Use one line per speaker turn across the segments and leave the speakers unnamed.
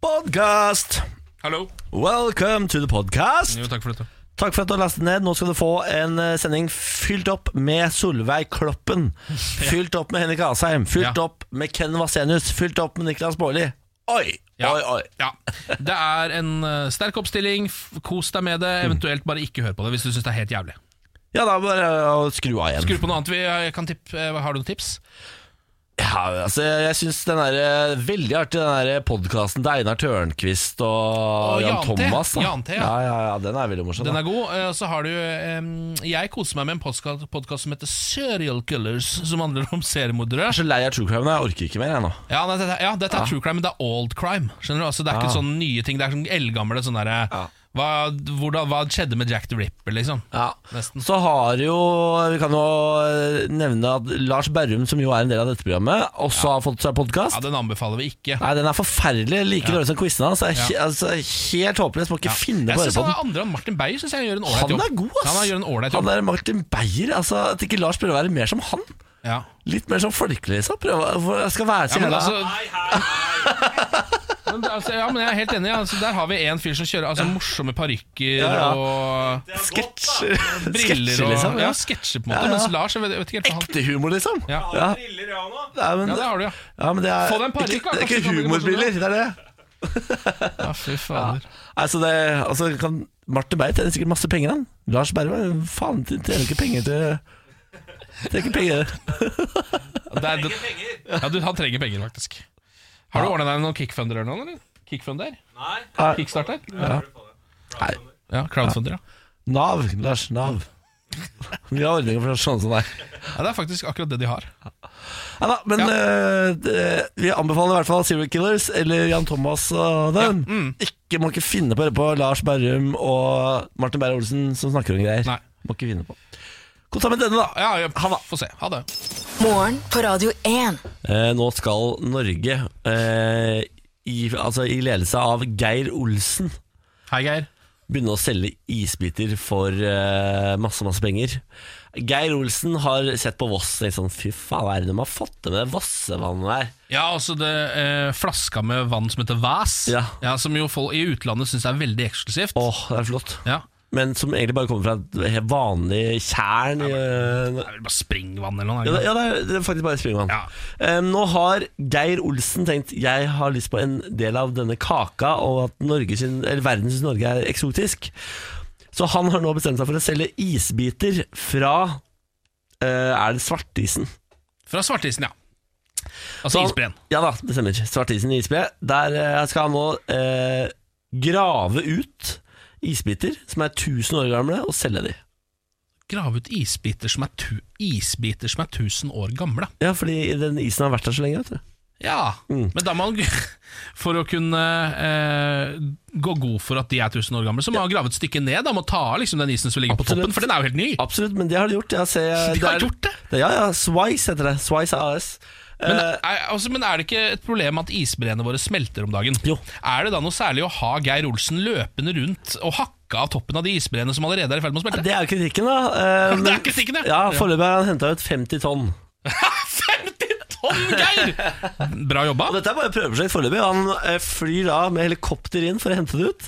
Podcast!
Hallo.
Welcome to the podcast.
Jo, takk for dette.
Takk for at du har lastet ned. Nå skal du få en eh, sending fylt opp med Solveig Kloppen. Fylt opp med Henrik Asheim. Fylt
Ja.
opp med Ken Vasenius. Fylt opp med Niklas Baarli. Oi,
Ja.
oi, oi.
Ja. Det er en eh, sterk oppstilling. F- Kos deg med det. Eventuelt bare ikke hør på det hvis du syns det er helt jævlig.
Ja, da er det bare å skru av igjen.
Skru på noe annet. Vi jeg kan tipp, eh, har du noen tips?
Ja, altså, jeg syns den er veldig artig, den der podkasten til Einar Tørnquist og,
Og
Jan
Jan T.
Thomas. da.
Jan T, ja.
ja. Ja, ja, Den er veldig morsom.
Den
da.
er god. eh, og Så har du eh, Jeg koser meg med en podkast som heter Serial Killers, som handler om seriemordere.
Jeg er så lei av true crime, jeg orker ikke mer jeg nå.
Ja, nei, dette, ja, dette er true crime, men det er old crime. Skjønner du? Altså, det er ikke sånne nye ting. Det er sånn eldgamle sånn derre hva, hvordan, hva skjedde med Jack the Ripper, liksom? Nesten.
Så har jo Vi kan jo eh, nevne at Lars Berrum, som jo er en del av dette programmet, også har fått seg podkast.
Ja, Den anbefaler vi ikke.
Nei, den er forferdelig. Like dårlig som quizen hans. Jeg er he- altså, helt håpløs. Må ikke
Ja.
finne på å høre
jeg synes
på
han
den.
er andre enn Martin Beyer synes jeg gjør en ålreit
Han
jobb.
er god, ass!
Ja, han gjør en ålreit jobb.
han er Martin Beyer. Altså, at ikke Lars prøver å være mer som han.
Ja.
Litt mer som folkelig. liksom. Så prøver, for jeg skal være
Ja,
så
men
jævla
altså, men, altså, ja, men jeg er helt enig. Altså, der har vi en fyr som kjører altså, morsomme parykker
ja.
og
sketsjer.
briller.
sketsjer, liksom.
og,
Ja.
ja, sketsjer på en måte.
Ja, ja.
Mens Lars jeg vet, jeg vet ikke helt hva han
Ekte humor, liksom.
Ja.
Ja. Nei, men,
Ja, det har du, ja.
ja, men det er
Få deg en parykk,
ikke,
da,
det er
kanskje
ikke
du kan bli
humorbriller, det er det.
Ja, fy fader.
Altså, det, altså kan Martin Beyer tjener sikkert masse penger, han. Lars Berrum, faen, tjener ikke penger til Tjener ikke penger
Det er, det, ja, du, han trenger penger, faktisk. Har du ordna deg noen kickfunder eller noe? Eller? Kickfunder?
Nei.
Kickstarter?
Nei.
Ja, crowdfunder, ja.
Nav, Lars. Nav. Vi har ordninger for sånne som deg.
ja. Det er faktisk akkurat det de har.
Nei da, men eh, det- vi anbefaler i hvert fall Serial Killers eller Jan Thomas og den. Ikke, må ikke finne på å høre på Lars Berrum og Martin Beyer-Olsen som snakker om greier.
Nei.
Må ikke finne på. Godt sammen med denne, da.
Ja, ja, Få se. Ha det.
Morgen på Radio 1.
Eh, nå skal Norge eh, i, altså, i ledelse av Geir Olsen
Hei, Geir.
begynne å selge isbiter for eh, masse, masse penger. Geir Olsen har sett på Voss og tenkt sånn Fy faen, hva er det de har fått til med det Vossevannet der?
Ja, altså det eh, flaska med vann som heter Væs,
Ja.
som jo folk i utlandet syns er veldig eksklusivt.
Åh, det er flott.
Ja.
Men som egentlig bare kommer fra et helt vanlig tjern. i, eh,
Det er vel bare springvann eller noe?
Ja,
er
det,
det ikke?
ja, det, er, det er faktisk bare springvann.
Ja.
Eh, nå har Geir Olsen tenkt Jeg har lyst på en del av denne kaka, og at Norge sin, eller verden syns Norge er eksotisk. Så han har nå bestemt seg for å selge isbiter fra eh, Er det svartisen?
Fra svartisen, ja. Altså
Så-
isbreen.
Ja da, det stemmer. Svartisen i isbre. Der eh, skal han nå eh, grave ut isbiter som er 1000 år gamle, og selge de.
Grave ut isbiter som, er tu isbiter som er 1000 år gamle.
Ja, fordi den isen har vært der så lenge, vet du.
Ja,
Mm.
men da må han For å kunne eh, gå god for at de er 1000 år gamle, så må han grave et stykke ned. Da må han ta av liksom, den isen som ligger på
Absolutt.
toppen, for den er jo helt ny.
Absolutt, men det har de gjort. Jeg ser,
De har gjort det?
Ja, ja. Swice heter det. Swice AS.
Men,
Eh,
er, altså, men er det ikke et problem at isbreene våre smelter om dagen?
Jo.
Er det da noe særlig å ha Geir Olsen løpende rundt og hakke av toppen av de isbreene som allerede er i ferd med å smelte?
det er jo kritikken, da. Eh,
Det er kritikken, ja.
ja. Foreløpig har han henta ut 50 tonn.
50 tonn, Geir! Bra jobba.
Og dette er bare et prøveprosjekt foreløpig. Han eh, flyr da med helikopter inn for å hente det ut.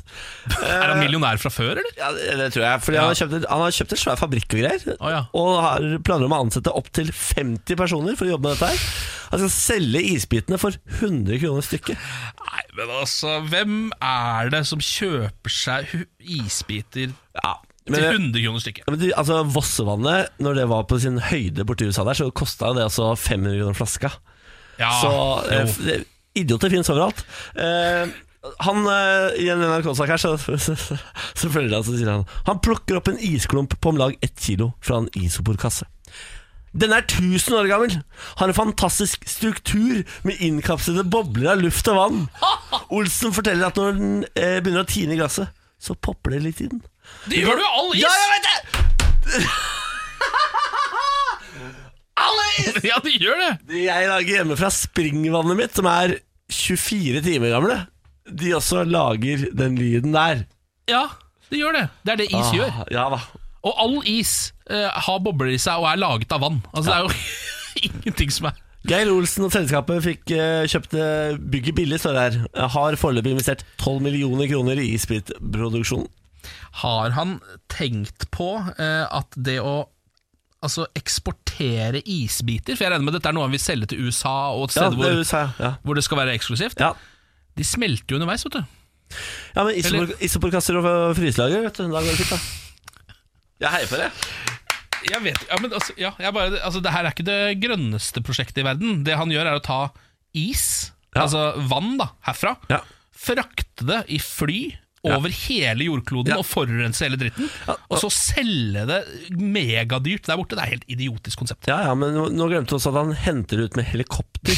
Er
eh,
han millionær fra før, eller?
Ja, Det det tror jeg. Fordi han, har kjøpt, et- han har kjøpt en svær fabrikk og greier.
Å, ja.
Og har planer om å ansette opptil 50 personer for å jobbe med dette her. Han skal selge isbitene for 100 kroner stykket.
Nei, men altså, hvem er det som kjøper seg hu- isbiter
Ja, men
til
det-
100 kroner stykket?
Ja, men du, altså Vossevannet, når det var på sin høyde borti USA der, så kosta jo det altså 500 kroner flaska.
Ja,
så eh,
Ah, jo.
f- det- idioter finnes overalt. Eh, han, eh, I en NRK-sak her, så, så, så, så følger han, så sier han Han plukker opp en isklump på om lag ett kilo fra en isoporkasse. Den er 1000 år gammel, har en fantastisk struktur med innkapslede bobler av luft og vann. Olsen forteller at når den eh, begynner å tine i glasset, så popper det litt i den.
det gjør du jo all is!
Ja, jeg vet det!
Ja, det gjør det!
De jeg lager hjemme fra springvannet mitt, som er 24 timer gamle, de også lager den lyden der.
Ja, det gjør det. Det er det is gjør.
Ah, Ja da.
Og all is eh, har bobler i seg og er laget av vann. Altså, Det er jo ingenting som er
Geir Olsen og selskapet fikk eh, kjøpt eh, bygget billig, står det her. Eh, Har foreløpig investert 12 millioner kroner i spritproduksjon.
Har han tenkt på eh, at det å altså, eksportere isbiter For jeg regner med dette er noe han vil selge til USA og et
Ja,
sted
det
hvor,
sa jeg. Ja.
hvor det skal være eksklusivt.
Ja.
De smelter jo underveis, vet du.
ja, men isopor- isoporkasser og fryselager, vet du. Da går det fint, da. Jeg heier på det.
Jeg vet, ja, men altså, ja, jeg bare, altså, det her er ikke det grønneste prosjektet i verden. Det han gjør, er å ta is,
Ja.
altså vann, da, herfra.
Ja.
Frakte det i fly over hele jordkloden
Ja.
og forurense hele dritten. og så selge det megadyrt der borte. Det er et helt idiotisk konsept.
Ja, ja, men nå- nå glemte du også at han henter ut med helikopter.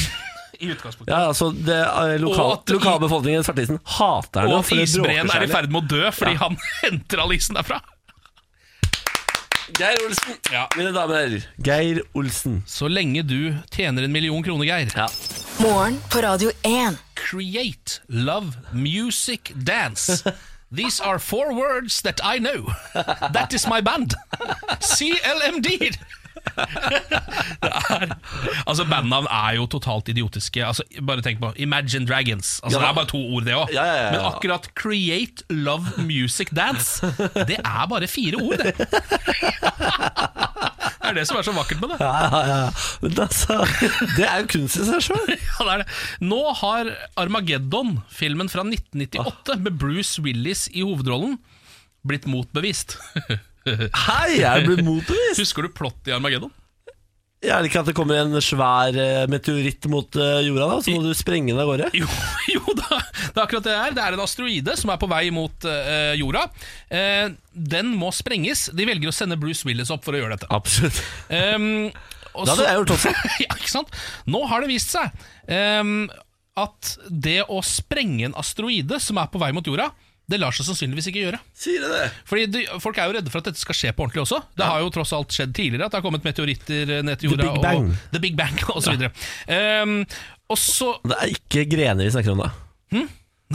I utgangspunktet
Ja, altså, det, eh, lokal,
Og at-
Lokalbefolkningen i Svartisen hater han
Og
nå,
at
for det bråker
isbreen
seg
er i
litt.
ferd med å dø fordi han henter all isen derfra.
Geir Olsen,
Ja.
mine damer og herrer. Geir Olsen.
Så lenge du tjener en million kroner, Geir.
Ja.
Morgen på Radio 1.
Create, love, music, dance. These are four words that I know. That is my band. CLMD. Det er, altså Bandnavn er jo totalt idiotiske. Altså, bare tenk på Imagine Dragons. Altså,
Ja.
Det er bare to ord, det òg.
Ja, ja, ja, ja.
Men akkurat Create, Love, Music, Dance Det er bare fire ord, det. Det er det som er så vakkert med det.
Ja, ja, ja. Men altså, det er jo kunst i seg sjøl.
Ja, det er det. Nå har Armageddon, filmen fra
Ah.
1998 med Bruce Willis i hovedrollen, blitt motbevist.
Hei, jeg blir motorvist!
Husker du plott i Armageddon?
Jeg er det ikke at det kommer en svær eh, meteoritt mot eh, jorda, da, så må du sprenge den av gårde.
Jo, jo da, det er akkurat det det er. Det er en asteroide som er på vei mot eh, jorda. Eh, den må sprenges. De velger å sende Bruce Willis opp for å gjøre dette.
Absolutt.
Um, og
Det hadde
så-
jeg gjort også.
ja, ikke sant? Nå har det vist seg ehm, at det å sprenge en asteroide som er på vei mot jorda, det lar seg sannsynligvis ikke gjøre.
Sier du det?
Fordi de, Folk er jo redde for at dette skal skje på ordentlig også. Det har jo tross alt skjedd tidligere at det har kommet meteoritter eh, ned til
The
jorda.
Big Bang.
Og, The Big Bang og så videre. Ehm, og så
Det er ikke grener vi snakker om da.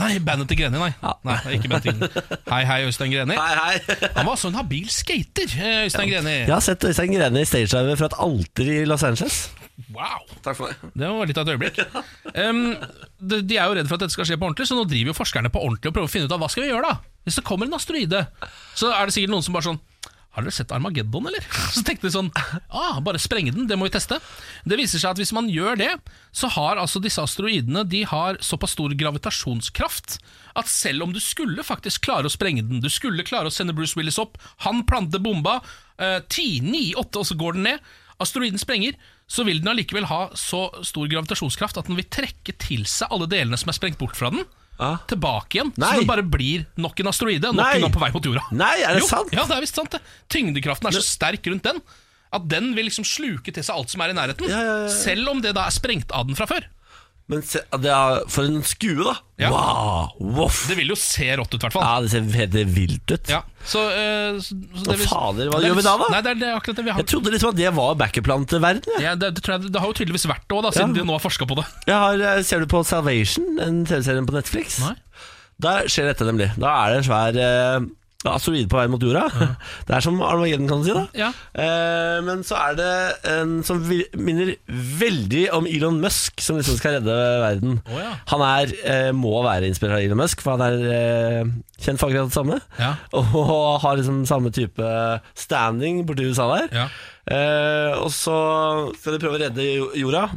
Nei, bandet til Greni, nei.
Ja.
nei det er ikke bandet til Greni. Hei, hei, Øystein Greni.
hei.
Han var også en habil skater, eh, Øystein Greni.
Jeg har sett Øystein Grene i stagediver fra et alter i Los Angeles.
Wow.
Takk for det.
Det var litt av et øyeblikk. Ehm, de, de er jo redd for at dette skal skje på ordentlig, så nå driver jo forskerne på ordentlig og prøver å finne ut av hva skal vi gjøre da? Hvis det kommer en asteroide, så er det sikkert noen som bare sånn har dere sett Armageddon, eller? Så tenkte de sånn ah, Bare sprenge den, det må vi teste. Det viser seg at hvis man gjør det, så har altså disse asteroidene De har såpass stor gravitasjonskraft at selv om du skulle faktisk klare å sprenge den, du skulle klare å sende Bruce Willis opp, han planter bomba, eh, 10, 9, 8, og så går den ned asteroiden sprenger, så vil den allikevel ha så stor gravitasjonskraft at den vil trekke til seg alle delene som er sprengt bort fra den,
Ah.
tilbake igjen.
Nei.
Så det bare blir nok en asteroide, nok
Nei.
en opp på vei mot jorda.
Nei, er det
jo,
sant?
Ja, det er visst sant, det. Tyngdekraften er så sterk rundt den at den vil liksom sluke til seg alt som er i nærheten,
Ja, ja, ja.
selv om det da er sprengt av den fra før.
Men se, det er for en skue, da.
Ja.
Wow! Voff!
Det vil jo se rått ut, i hvert fall.
Ja, det ser helt vilt ut.
Ja, så, eh, så, så
Å, fader, hva gjør vi da, da?
Nei, det er, det er akkurat det vi har.
Jeg trodde liksom at det var backup-planen til verden. jeg.
Ja, det, det, tror jeg, det har jo tydeligvis vært det òg, siden
Ja.
de nå har forska på det.
Jeg har, eh, ser du på Salvation, den TV-serien på Netflix?
Nei.
Der skjer dette nemlig. Da er det en svær eh, asteroide på vei mot jorda. Det er som Armageddon, kan du si. da
Ja.
eh, Men så er det en som vi- minner veldig om Elon Musk, som liksom skal redde verden.
Å, ja.
Han er, eh, må være inspirert av Elon Musk, for han er eh, kjent for akkurat det samme.
Ja.
Og har liksom samme type standing borti USA der.
Ja.
Eh, og så skal de prøve å redde jo- jorda.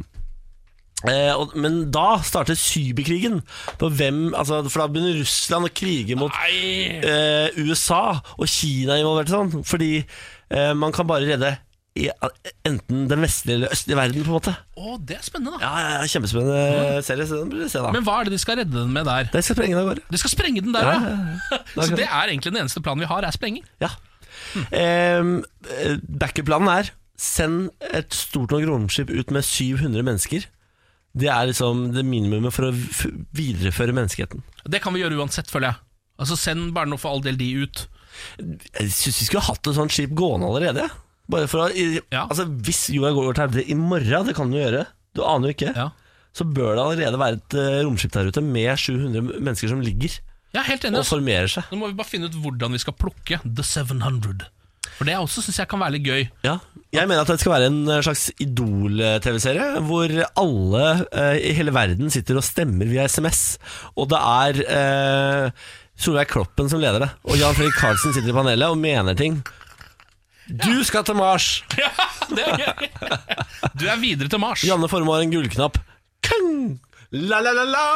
Eh, og, men da starter cyberkrigen. På hvem, altså, for da begynner Russland å krige mot
Nei.
eh, USA, og Kina er involvert. og Sånn, fordi eh, man kan bare redde i, enten den vestlige eller østlige verden, på en måte.
Å, det er spennende, da.
Ja, ja, ja Kjempespennende serie. Så den burde du se, da.
Men hva er det de skal redde den med der?
De skal sprenge den av gårde.
De skal sprenge den der,
Ja,
ja!
ja,
Så det er egentlig den eneste planen vi har, er sprenging.
Ja. Ehm, Eh, Backup-planen er send et stort nok romskip ut med 700 mennesker. Det er liksom det minimumet for å f videreføre menneskeheten.
Det kan vi gjøre uansett, føler jeg. Altså Send bare noe for all del de ut.
Jeg syns vi skulle hatt et sånt skip gående allerede. Bare for å, i,
Ja.
altså, hvis jorda går til helvete i morgen, det kan den jo gjøre, du aner jo ikke,
Ja,
så bør det allerede være et eh, romskip der ute med 700 mennesker som ligger
Jeg er helt enig.
og
altså.
formerer seg.
Nå må vi bare finne ut hvordan vi skal plukke The 700. For det er også synes jeg kan være litt gøy.
Ja. Jeg mener at det skal være en eh, slags Idol-TV-serie, hvor alle eh, i hele verden sitter og stemmer via SMS. Og det er eh, Solveig Kloppen som leder det. Og Jan Fredrik Karlsen sitter i panelet og mener ting. Du skal til Mars!
Ja, det er gøy Du er videre til Mars.
Janne Formoe har en gullknapp. Kang! La, la, la, la!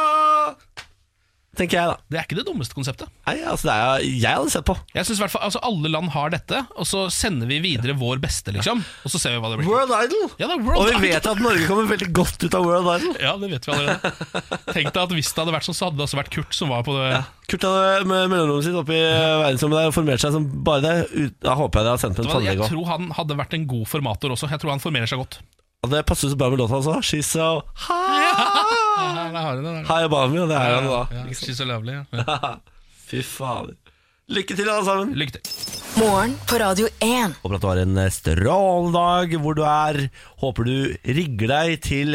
Tenker jeg, da.
Det er ikke det dummeste konseptet.
Nei, altså, det er jeg hadde sett på.
Jeg synes i hvert fall, altså Alle land har dette, og så sender vi videre vår beste, liksom. Og så ser vi hva det blir.
World Idol!
Ja, det er World
og vi
Idol.
vet at Norge kommer veldig godt ut av World Idol.
Ja, det vet vi allerede. Tenk deg at Hvis det hadde vært sånn, så hadde det også vært Kurt som var på det.
Kurt hadde med eh, mellomrommet sitt oppe i eh, verdensrommet der og formert seg som bare det. Ut, da håper jeg dere har sendt med en
Vet du hva,
tannlege
Jeg
òg.
tror han hadde vært en god formator også. Jeg tror han formerer seg godt.
Det passer jo så bra med låta også. She's so high,
Ja, der har du det, der.
high above me, og det er han da.
Ja, she's so lovely, ja.
Fy fader. Lykke til, alle sammen.
Lykke til.
Morgen på Radio 1.
Håper at du har en eh, strålende dag hvor du er. Håper du rigger deg til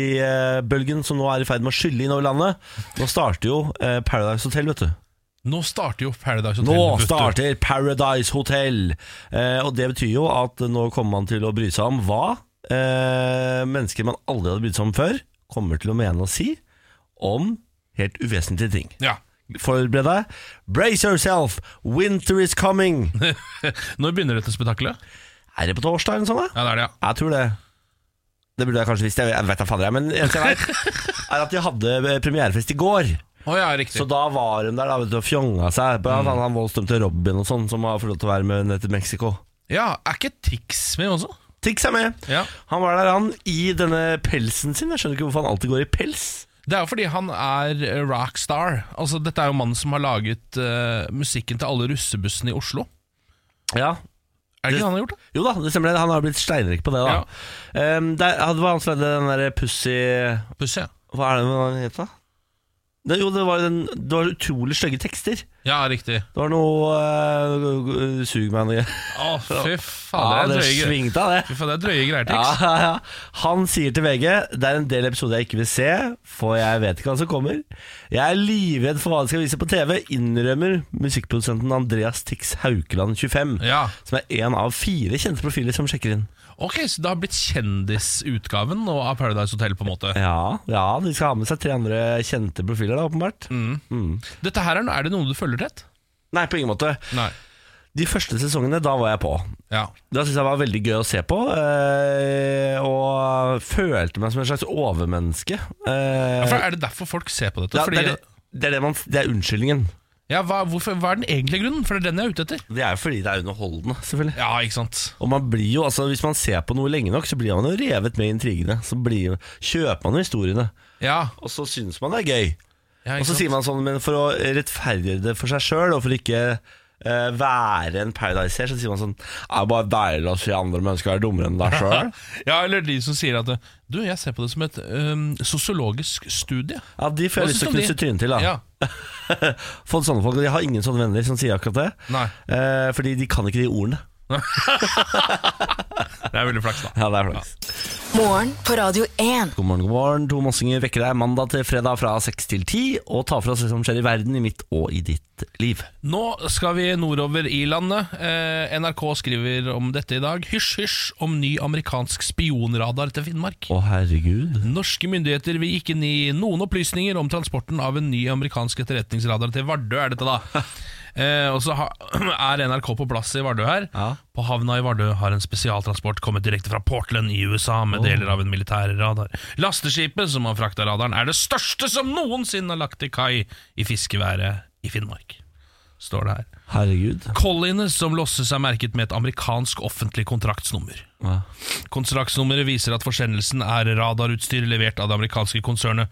reality-bølgen som nå er i ferd med å skylle inn over landet. Nå starter jo eh, Paradise Hotel, vet du.
Nå starter jo Paradise Hotel.
Nå
vet du.
starter Paradise Hotel! Eh, og det betyr jo at nå kommer man til å bry seg om hva eh, mennesker man aldri hadde brydd seg om før, kommer til å mene og si om helt uvesentlige ting.
Ja.
Forbered deg. Brace yourself! Winter is coming!
Når begynner dette spetakkelet?
Er det på torsdag eller noe sånt? da?
Ja, det er det, ja.
Jeg tror det. Det burde jeg kanskje visst. Jeg jeg vet da fader jeg, men det eneste jeg vet, er at de hadde eh, premierefest i går.
Å ja, riktig.
Så da var de der da, vet du, og fjonga seg. Blant annet han voldsdømte Robin og sånn, som har fått lov til å være med ned til Mexico.
Ja, Er ikke Tix med også?
Tix er med.
Ja.
Han var der, han, i denne pelsen sin. Jeg skjønner ikke hvorfor han alltid går i pels.
Det er jo fordi han er eh, rockstar. Altså, dette er jo mannen som har laget eh, musikken til alle russebussene i Oslo.
Ja.
Er
Det-
det ikke det han har gjort? da?
Jo da, det stemmer det. Han har blitt steinrik på det, da. Um, der, det var han som lagde den der pussy
Pussy, ja.
Hva er det den het, da? Det, jo, det var, den, det var utrolig stygge tekster.
Ja, riktig.
Det var noe uh, Sug meg noe greier.
Å,
Ja,
fy faen,
det
det er drøye greier.
svingte av, det.
Fy faen, det er drøye greier,
Ja,
Tix.
ja, ja. Han sier til VG Det er en del episoder jeg ikke vil se, for jeg vet ikke hva som kommer. Jeg er livredd for hva de skal vise på TV, innrømmer musikkprodusenten Andreas Tix Haukeland 25.
Ja.
Som er én av fire kjente profiler som sjekker inn.
Ok, så det har blitt kjendisutgaven nå av Paradise Hotel, på en måte.
Ja, ja, de skal ha med seg tre andre kjente profiler, da, åpenbart.
Mm.
Mm.
Dette her Er no- er det noe du følger tett?
Nei, på ingen måte.
Nei.
De første sesongene, da var jeg på.
Ja.
Da syntes jeg var veldig gøy å se på, eh, og følte meg som en slags overmenneske. Eh,
For er det derfor folk ser på dette?
ja,
Fordi,
det, er det, det, er det, man, det er unnskyldningen.
ja, hva, hvorfor, hva er den egentlige grunnen? For det er den jeg er ute etter.
Det er jo fordi det er underholdende, selvfølgelig.
Ja, ikke sant?
Og man blir jo, altså Hvis man ser på noe lenge nok, så blir man jo revet med i intrigene. Så blir, kjøper man jo historiene,
Ja,
og så syns man det er gøy.
ja
Og så sier man sånn, men for å rettferdiggjøre det for seg sjøl, og for ikke eh, være en Paradise-seer, så sier man sånn Det er bare deilig å se andre mennesker være dummere enn deg sjøl.
Ja, eller de som sier at Du, jeg ser på det som et øhm, sosiologisk studie.
Ja, de får
Hva
jeg lyst til å
synes du om
knuse
de?
trynet til, da.
Ja.
Fått sånne folk, og Jeg har ingen sånne venner som sier akkurat det.
Nei.
Eh, fordi de kan ikke de ordene.
Det er veldig flaks, da.
Ja, det er flaks.
Morgen på Radio 1.
God morgen, god morgen. To mossinger vekker deg mandag til fredag fra 6 til 10 og tar for oss det som skjer i verden, i mitt og i ditt liv.
Nå skal vi nordover i landet. Eh, NRK skriver om dette i dag. Hysj, hysj om ny amerikansk spionradar til Finnmark.
Å herregud.
Norske myndigheter vil ikke gi noen opplysninger om transporten av en ny amerikansk etterretningsradar til Vardø, er dette da. Eh, og så ha, er NRK på plass i Vardø her.
Ja.
På havna i Vardø har en spesialtransport kommet direkte fra Portland i USA med deler av en militær radar. Lasteskipet som har frakta radaren, er det største som noensinne har lagt til kai i fiskeværet i Finnmark, står det her.
Herregud.
Colliene som losses er merket med et amerikansk offentlig kontraktsnummer.
Ja.
Kontraktsnummeret viser at forsendelsen er radarutstyr levert av det amerikanske konsernet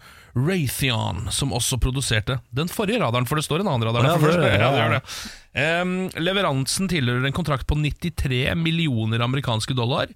Raytheon, som også produserte den forrige radaren, for det står en annen radar der.
Ja,
for
det-
første-
ja,
ja, det gjør det. Em, leveransen tilhører en kontrakt på 93 millioner amerikanske dollar.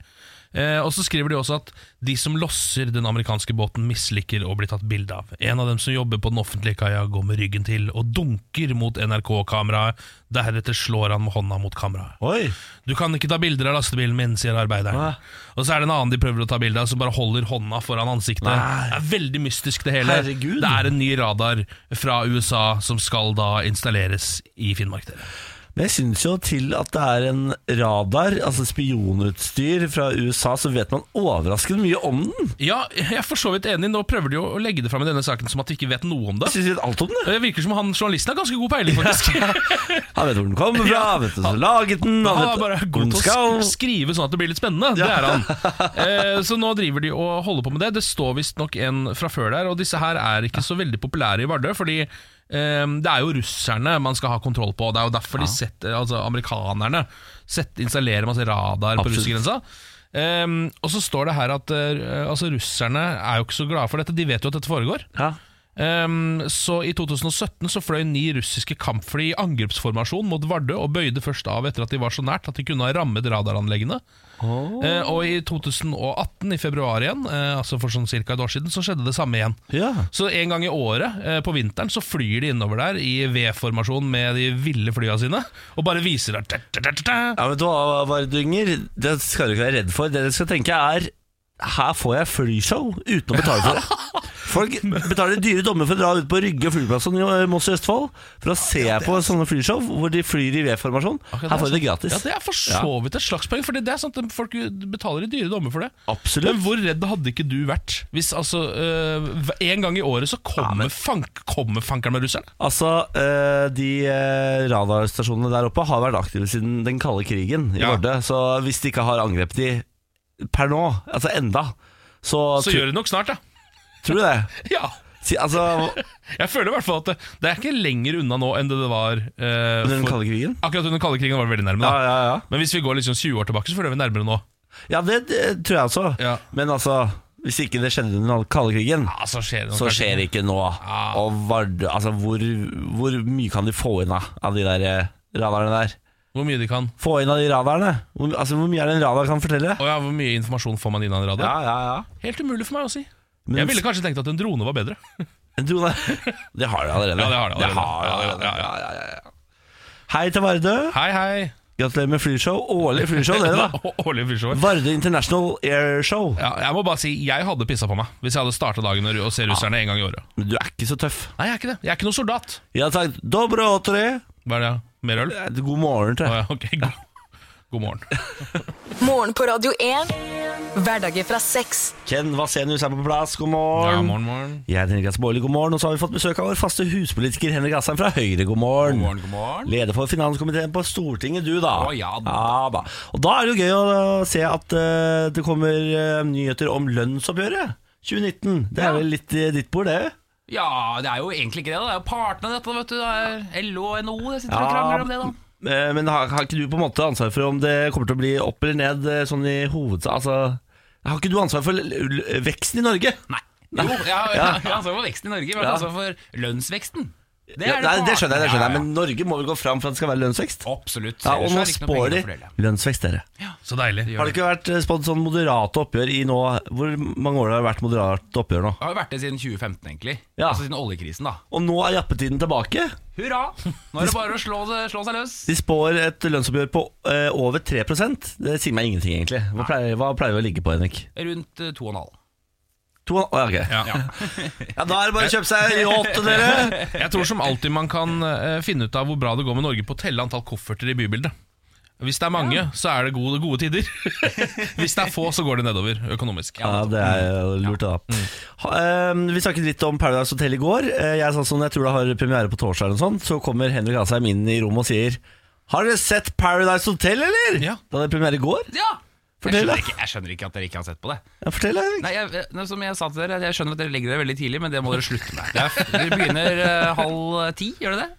Eh, og så skriver de også at de som losser den amerikanske båten, misliker å bli tatt bilde av. En av dem som jobber på den offentlige kaia, går med ryggen til og dunker mot NRK-kameraet. Deretter slår han med hånda mot kameraet.
Oi.
Du kan ikke ta bilder av lastebilen min, sier arbeideren.
Nei.
Og så er det en annen de prøver å ta bilde av, som bare holder hånda foran ansiktet.
Nei.
Det er veldig mystisk, det hele.
Herregud.
Det er en ny radar fra USA som skal da installeres i Finnmark. dere.
Men jeg syns jo til at det er en radar, altså spionutstyr fra USA, så vet man overraskende mye om den.
Ja, jeg er for så vidt enig. Nå prøver de jo å legge det fram i denne saken som at vi ikke vet noe om det.
Jeg synes vi vet alt om det.
Det virker som han journalisten har ganske god peiling, faktisk.
Han vet hvor den kommer fra,
Ja.
han vet hvem som laget den, han
Han er
vet
bare
hvor
god
den
til å
skal.
sk- skrive sånn at det blir litt spennende. Det er han. Eh, så nå driver de og holder på med det. Det står visstnok en fra før der, og disse her er ikke så veldig populære i Vardø, fordi eh, det er jo russerne man skal ha kontroll på. Det er jo derfor de setter, altså amerikanerne setter, installerer masse radar på
Absolutt.
russergrensa. Eh, og så står det her at eh, altså russerne er jo ikke så glade for dette. De vet jo at dette foregår.
Ja.
Ehm, så I 2017 så fløy ni russiske kampfly i angrepsformasjon mot Vardø og bøyde først av etter at de var så nært at de kunne ha rammet radaranleggene. Eh, og i 2018, i februar igjen, eh, altså for sånn cirka et år siden, så skjedde det samme igjen.
ja.
Så en gang i året eh, på vinteren så flyr de innover der i V-formasjon med de ville flya sine, og bare viser der ta, ta, ta, ta, ta.
Ja, men du hva, Vardunger, det skal du ikke være redd for. Det du skal tenke er her får jeg flyshow uten å betale for det. Folk betaler dyre dommer for å dra ut på Rygge flyplass i eh, Moss i Østfold for å se på sånne flyshow hvor de flyr i V-formasjon.
altså- Akkurat
Her får de
er
det
sant.
gratis.
Ja, Det er for så vidt et slags poeng, for det er sant at folk betaler i dyre dommer for det. Men
Absolutt.
hvor redd hadde ikke du vært hvis altså øh, hver- En gang i året så kommer, fank, kommer fankeren med russeren?
Altså, eh, de eh, radarstasjonene der oppe har vært aktive siden den kalde krigen i
Ja.
Vardø. Så hvis de ikke har angrepet de per nå, altså enda, så,
Så gjør det nok snart, ja.
tror du det?
ja.
Si, altså,
Jeg føler i hvert fall at det, det er ikke lenger unna nå enn det det var øh,
under den
for,
kalde krigen?
Akkurat under den kalde krigen var det veldig nærme.
Ja,
Da.
ja, ja.
Men hvis vi går liksom 20 år tilbake, så føler jeg vi er nærmere nå.
Ja, det, det tror jeg også.
Ja.
Men altså, hvis ikke det skjedde under den kalde krigen,
Ja, så skjer det nok
så
kanskje
skjer det ikke nå.
Ja.
Og Vardø- altså, hvor, hvor mye kan de få inn av, av de der eh, radarene der?
Hvor mye de kan.
Få inn av de radarene? Hvor, altså, hvor mye er det en radar kan fortelle?
Å ja, Hvor mye informasjon får man inn av en radar?
Ja, ja, ja.
Helt umulig for meg å si.
Men-
jeg ville kanskje tenkt at en drone var bedre.
En drone Det har de allerede.
Ja, det har de allerede.
de
Ja, ja,
allerede.
ja, ja.
Ja, ja, ja. Hei til Vardø.
Hei, hei.
Gratulerer med flyshow. Årlig flyshow, dere, da.
Å- Årlig fyrshow.
Vardø International Air Show.
Ja, jeg må bare si, jeg hadde pissa på meg hvis jeg hadde starta dagen med å se russerne en gang i året.
Men du er ikke så tøff.
Nei, jeg er ikke det. Jeg er ikke noen soldat.
Jeg har sagt dobro åtre.
Hva er det? Mer øl?
God morgen til deg.
Å ja, ok, god. god morgen.
Morgen på Radio 1. Hverdager fra seks.
Ken Vasenius er på plass. God
Ja,
morgen.
morgen, morgen.
Jeg heter Henrik Asheim Baarli, god morgen. Og så har vi fått besøk av vår faste huspolitiker Henrik Asheim fra Høyre, god morgen.
God morgen, god morgen.
Leder for finanskomiteen på Stortinget, du da.
Å, ja da.
da. Og da er det jo gøy å eh, se at eh, det kommer eh, nyheter om lønnsoppgjøret 2019. Det er
Ja.
vel litt eh, ditt bord, det?
Ja, det er jo egentlig ikke det. da Det er jo partene dette, vet du. Det er LO og NHO det sitter og
Ja.
krangler om det, da.
Eh, Men har, har ikke du på en måte ansvar for om det kommer til å bli opp eller ned eh, sånn i hovedsak? Altså, har ikke du ansvar for l- l- veksten i Norge?
Nei. Jo, jeg har jeg
Ja.
har ansvar for veksten i Norge, men jeg
Ja.
har ansvar for lønnsveksten. Det,
Ja, nei, det skjønner jeg, det skjønner jeg.
partene-
Men Norge må vel gå fram for at det skal være lønnsvekst?
ja, ja. Absolutt.
Ja, og nå
Ellers er det ikke noe
spår de
penger å fordele.
lønnsvekst, dere.
Så deilig.
Det gjør
Har det ikke vært eh, spådd sånn moderate oppgjør i nå Hvor mange år har det vært moderate oppgjør nå?
Det har jo vært det siden 2015, egentlig.
Ja.
Altså siden oljekrisen, da.
Og nå er jappetiden tilbake.
Hurra! Nå er det bare å slå, det- slå seg løs.
De spår et lønnsoppgjør på eh, over 3 Det sier meg ingenting, egentlig. Hva pleier, hva pleier vi å ligge på, Henrik?
Rundt eh, 2,5.
To, oh, ja, ok.
Ja.
ja, da er det bare å kjøpe seg yacht, dere!
Jeg tror som alltid man kan eh, finne ut av hvor bra det går med Norge på å telle antall kofferter i bybildet. Hvis det er mange, så er det gode, gode tider. Hvis det er få, så går det nedover økonomisk.
Ja, det er jo lurt, da.
Mm.
Ha, eh, vi snakket litt om Paradise Hotel i går. Eh, jeg sa sånn, jeg tror det har premiere på torsdag, eller noe sånt. Så kommer Henrik Asheim inn i rommet og sier Har dere sett Paradise Hotel, eller?
Ja.
Da hadde premiere i går.
Ja!
Fortell,
jeg,
da.
skjønner ikke, jeg skjønner ikke at dere ikke har sett på det.
Ja, fortell, Henrik.
Nei, jeg, eh, nå som Jeg sa til dere Jeg skjønner at dere legger dere veldig tidlig, men det må dere slutte med. Det er, dere begynner eh, halv ti, gjør dere det?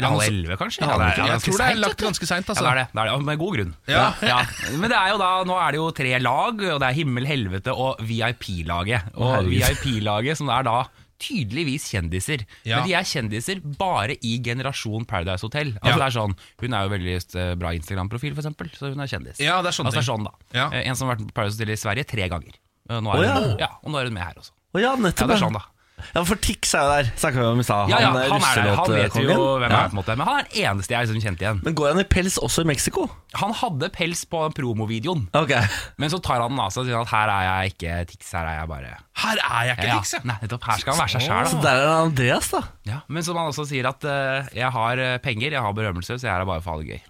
Eller halv
altså-
Ja,
elleve, kanskje?
Ja, det er-
Ja,
jeg tror det er
ganske
lagt
sent, vet du.
ganske seint, altså.
Ja, det er det, det er det, og med god grunn.
Ja.
Men det er jo da, nå er det jo tre lag, og det er himmel, helvete og VIP-laget. Og
herregud.
VIP-laget som er da tydeligvis kjendiser.
Ja.
Men de er kjendiser bare i generasjon Paradise Hotel.
Ja.
Altså det er sånn, Hun er jo veldig eh, bra Instagram-profil, for eksempel, så hun er kjendis.
Ja, det er sånne
altså, det er
ting.
sånn da.
Ja.
Eh, En som har vært på Paradise Hotel i Sverige tre ganger. Eh, Nå
Å,
er,
ja.
hun, ja, og nå er hun med her også.
Å ja,
Ja,
nettopp.
det er sånn da
Ja, for Tix er jo der, snakka vi om i stad. eh,
Ja, ja, han er der, han vet jo hvem
russelåtkongen.
han er, på en måte. Men han er den eneste jeg liksom kjente igjen.
eh, Men går han i pels også i Mexico?
Han hadde pels på promovideoen,
Ok
men så tar han den av seg og sier at her er jeg ikke Tix, her er jeg bare
Her er jeg ikke,
ja,
Tix,
Nei, nettopp. Her skal han være seg sjæl,
Så
da.
der er han Andreas, da.
Ja, men som han også sier, at eh, jeg har eh, penger, jeg har berømmelse, så jeg er her bare for å ha det gøy.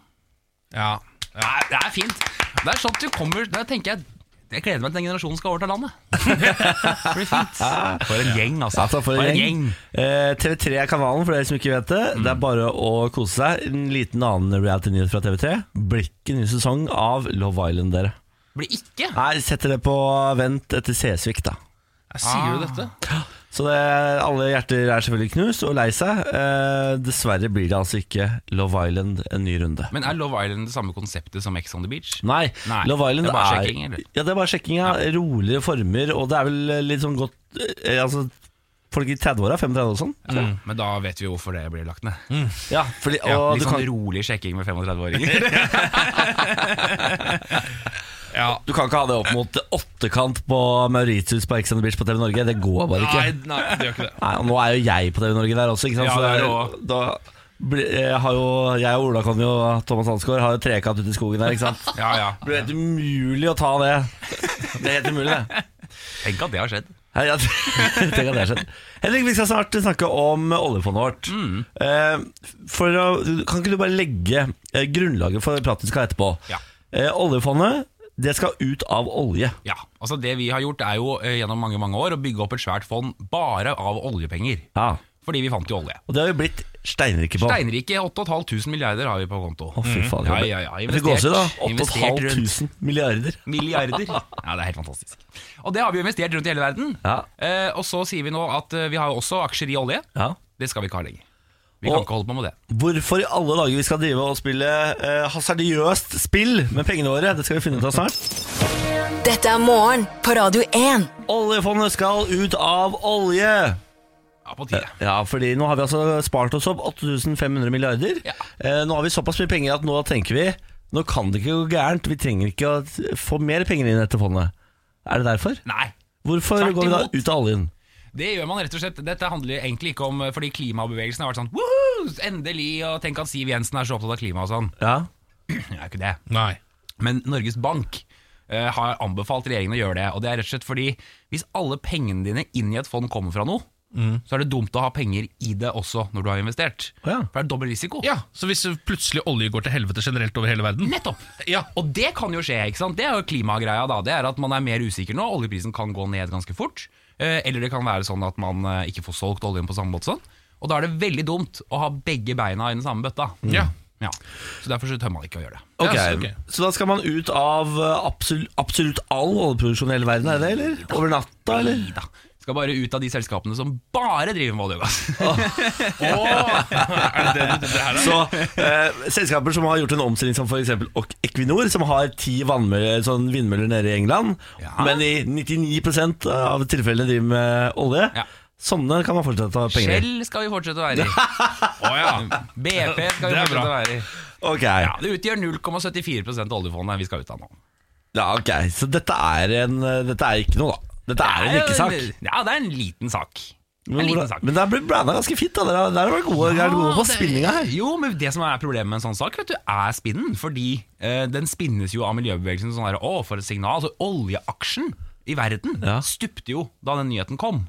ja.
Det er, det er fint. Det er sånn at du kommer Da tenker jeg jeg gleder meg til den generasjonen skal overta landet. Det blir fint. For en Mm. gjeng, altså.
Altså, for en gjeng. Eh, TV3 er kanalen, for dere som ikke vet det. Det er bare å kose seg. En liten annen reality-nyhet fra TV3. Blikket ny sesong av Love Island, dere.
Blir ikke.
Nei, setter det på vent etter Sesvik, da.
Jeg sier
Ah.
jo dette.
Så det, alle hjerter er selvfølgelig knust og lei seg. Eh, dessverre blir det altså ikke Love Island en ny runde.
Men er Love Island det samme konseptet som Ex on the Beach?
Nei,
Nei,
Love Island
det er bare
er
sjekking, eller?
Ja, det er bare sjekking, ja. Roligere former, og det er vel eh, litt sånn godt eh, Altså, folk i 30-åra, 35 og sånn.
Ja, Men da vet vi jo hvorfor det blir lagt ned.
Ja, fordi, og
Ja,
du
litt sånn
kan
rolig sjekking med 35-åringer.
Ja.
Du kan ikke ha det opp mot åttekant på Mauritius på Ex on the Beach på TV Norge. Det går bare ikke.
Nei,
Nei.
nei, det gjør ikke det.
og nå er jo jeg på TV Norge der også, ikke sant?
Ja, det er
det
du også.
da blir- eh, har jo jeg og Ola Conny og Thomas Hansgaard har jo trekant ute i skogen der, ikke sant.
Ja, ja.
Det blir helt umulig å ta det. Det er helt umulig, det.
Tenk at det har skjedd.
Hei, ja, Tenk at det har skjedd. Henrik, vi skal snart snakke om oljefondet vårt. Eh, For å, kan ikke du bare legge eh, grunnlaget for praten vi skal ha etterpå?
Ja.
Eh, Oljefondet, det skal ut av olje.
Ja, altså Det vi har gjort, er jo eh, gjennom mange mange år å bygge opp et svært fond bare av oljepenger.
Ja.
Fordi vi fant jo olje.
Og det har vi blitt steinrike på.
Steinrike 8500 milliarder har vi på konto.
Å, fy faen.
Ja, Mm. ja, ja.
Jeg fikk gåsehud, da.
Investert rundt.
8500 milliarder.
Milliarder. Ja, det er helt fantastisk. Og det har vi jo investert rundt i hele verden.
Ja.
Eh, og så sier vi nå at eh, vi har jo også aksjer i olje.
Ja.
Det skal vi ikke ha lenger. Vi
Og-
kan ikke holde på med det.
Hvorfor i alle dager vi skal drive og spille eh, hasardiøst spill med pengene våre, det skal vi finne ut av snart.
Dette er morgen på Radio 1.
Oljefondet skal ut av olje!
Ja, på tide.
Ja, fordi nå har vi altså spart oss opp 8500 milliarder.
Ja.
Eh, nå har vi såpass mye penger at nå tenker vi nå kan det ikke gå gærent. Vi trenger ikke å t- få mer penger inn etter fondet. Er det derfor?
Nei.
Hvorfor
Tvert
går vi da
imot.
ut av oljen?
Det gjør man rett og slett. Dette handler egentlig ikke om eh, Fordi klimabevegelsen har vært sånn Woohoo! Endelig! Og tenk at Siv Jensen er så opptatt av klima og sånn.
Ja.
Det er jo ikke det.
Nei.
Men Norges Bank eh, har anbefalt regjeringen å gjøre det. Og det er rett og slett fordi hvis alle pengene dine inn i et fond kommer fra noe,
Mm.
så er det dumt å ha penger i det også når du har investert.
Å ja.
For det er dobbel risiko.
Ja, Så hvis plutselig olje går til helvete generelt over hele verden
Nettopp!
Ja.
Og det kan jo skje, ikke sant? Det er jo klimagreia da. Det er at man er mer usikker nå. Oljeprisen kan gå ned ganske fort. eh, Eller det kan være sånn at man eh, ikke får solgt oljen på samme måte sånn. Og da er det veldig dumt å ha begge beina i den samme bøtta. Mm.
Ja.
Ja. Så derfor så tør man ikke å gjøre det.
Ok,
Ja, så- ok.
Så da skal man ut av eh, absolutt, absolutt all oljeproduksjon i hele verden, er det det, eller? Over natta, eller?
Ida. Skal bare ut av de selskapene som bare driver med olje og gass.
Er det det, det her er?
Så eh, selskaper som har gjort en omstilling som f.eks. Equinor, som har ti vannmøller, sånn vindmøller nede i England,
Ja.
men i 99 av tilfellene driver med olje.
Ja.
Sånne kan man fortsatt ta penger i.
Shell skal vi fortsette å være i.
Å, ja.
BP skal
Det
vi
er
fortsette å
bra.
være i.
Ok,
Ja, det utgjør 0,74 av oljefondet vi skal ut av nå.
ja, ok Så dette er, en, eh, dette er ikke noe, da. Dette er en ikke-sak.
Ja, det er en liten sak. En
Men,
liten
hvordan-
sak.
men det er blitt blanda ganske fint. da Dere har- dere har vært gode, dere har vært gode på
Ja, det-
spinninga her.
Jo, men det som er problemet med en sånn sak, vet du, er spinnen. Fordi eh, den spinnes jo av miljøbevegelsen sånn der, å, for et signal. Altså, oljeaksjen i verden
Ja.
stupte jo da den nyheten kom.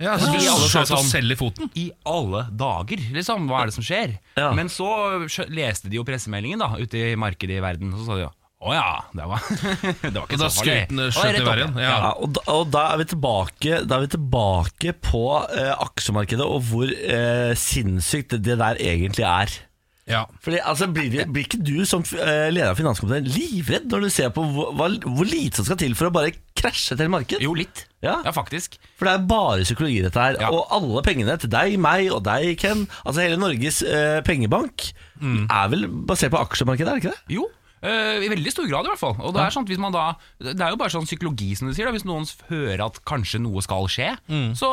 Ja, så
Fordi
de
alle
alle
sa
skjøt oss
sånn-
selv i foten.
I alle dager, liksom. Hva er det som skjer?
Ja.
Men så skjø- leste de jo pressemeldingen da, ute i markedet i verden, og så sa de jo å ja, det var, det var
Og
ikke
da
så farlig.
skøytene
Og
skjøt
rett
i
opp
været.
igjen.
Ja.
Ja, og da, og da, er vi tilbake, da er vi tilbake på eh, aksjemarkedet og hvor eh, sinnssykt det der egentlig er.
Ja.
Fordi, altså, blir, det, blir ikke du som eh, leder av finanskomiteen livredd når du ser på hvor, hva, hvor lite som skal til for å bare krasje til marked?
Jo, litt. Ja.
Ja.
faktisk.
For det er bare psykologi dette her.
Ja.
Og alle pengene til deg, meg og deg, Ken, altså hele Norges eh, pengebank,
Mm.
er vel basert på aksjemarkedet, er det ikke det?
Jo. eh, I veldig stor grad, i hvert fall. Og Det er, sånn at hvis man da, det er jo bare sånn psykologi, som du sier. Da. Hvis noen
Mm.
hører at kanskje noe skal skje, så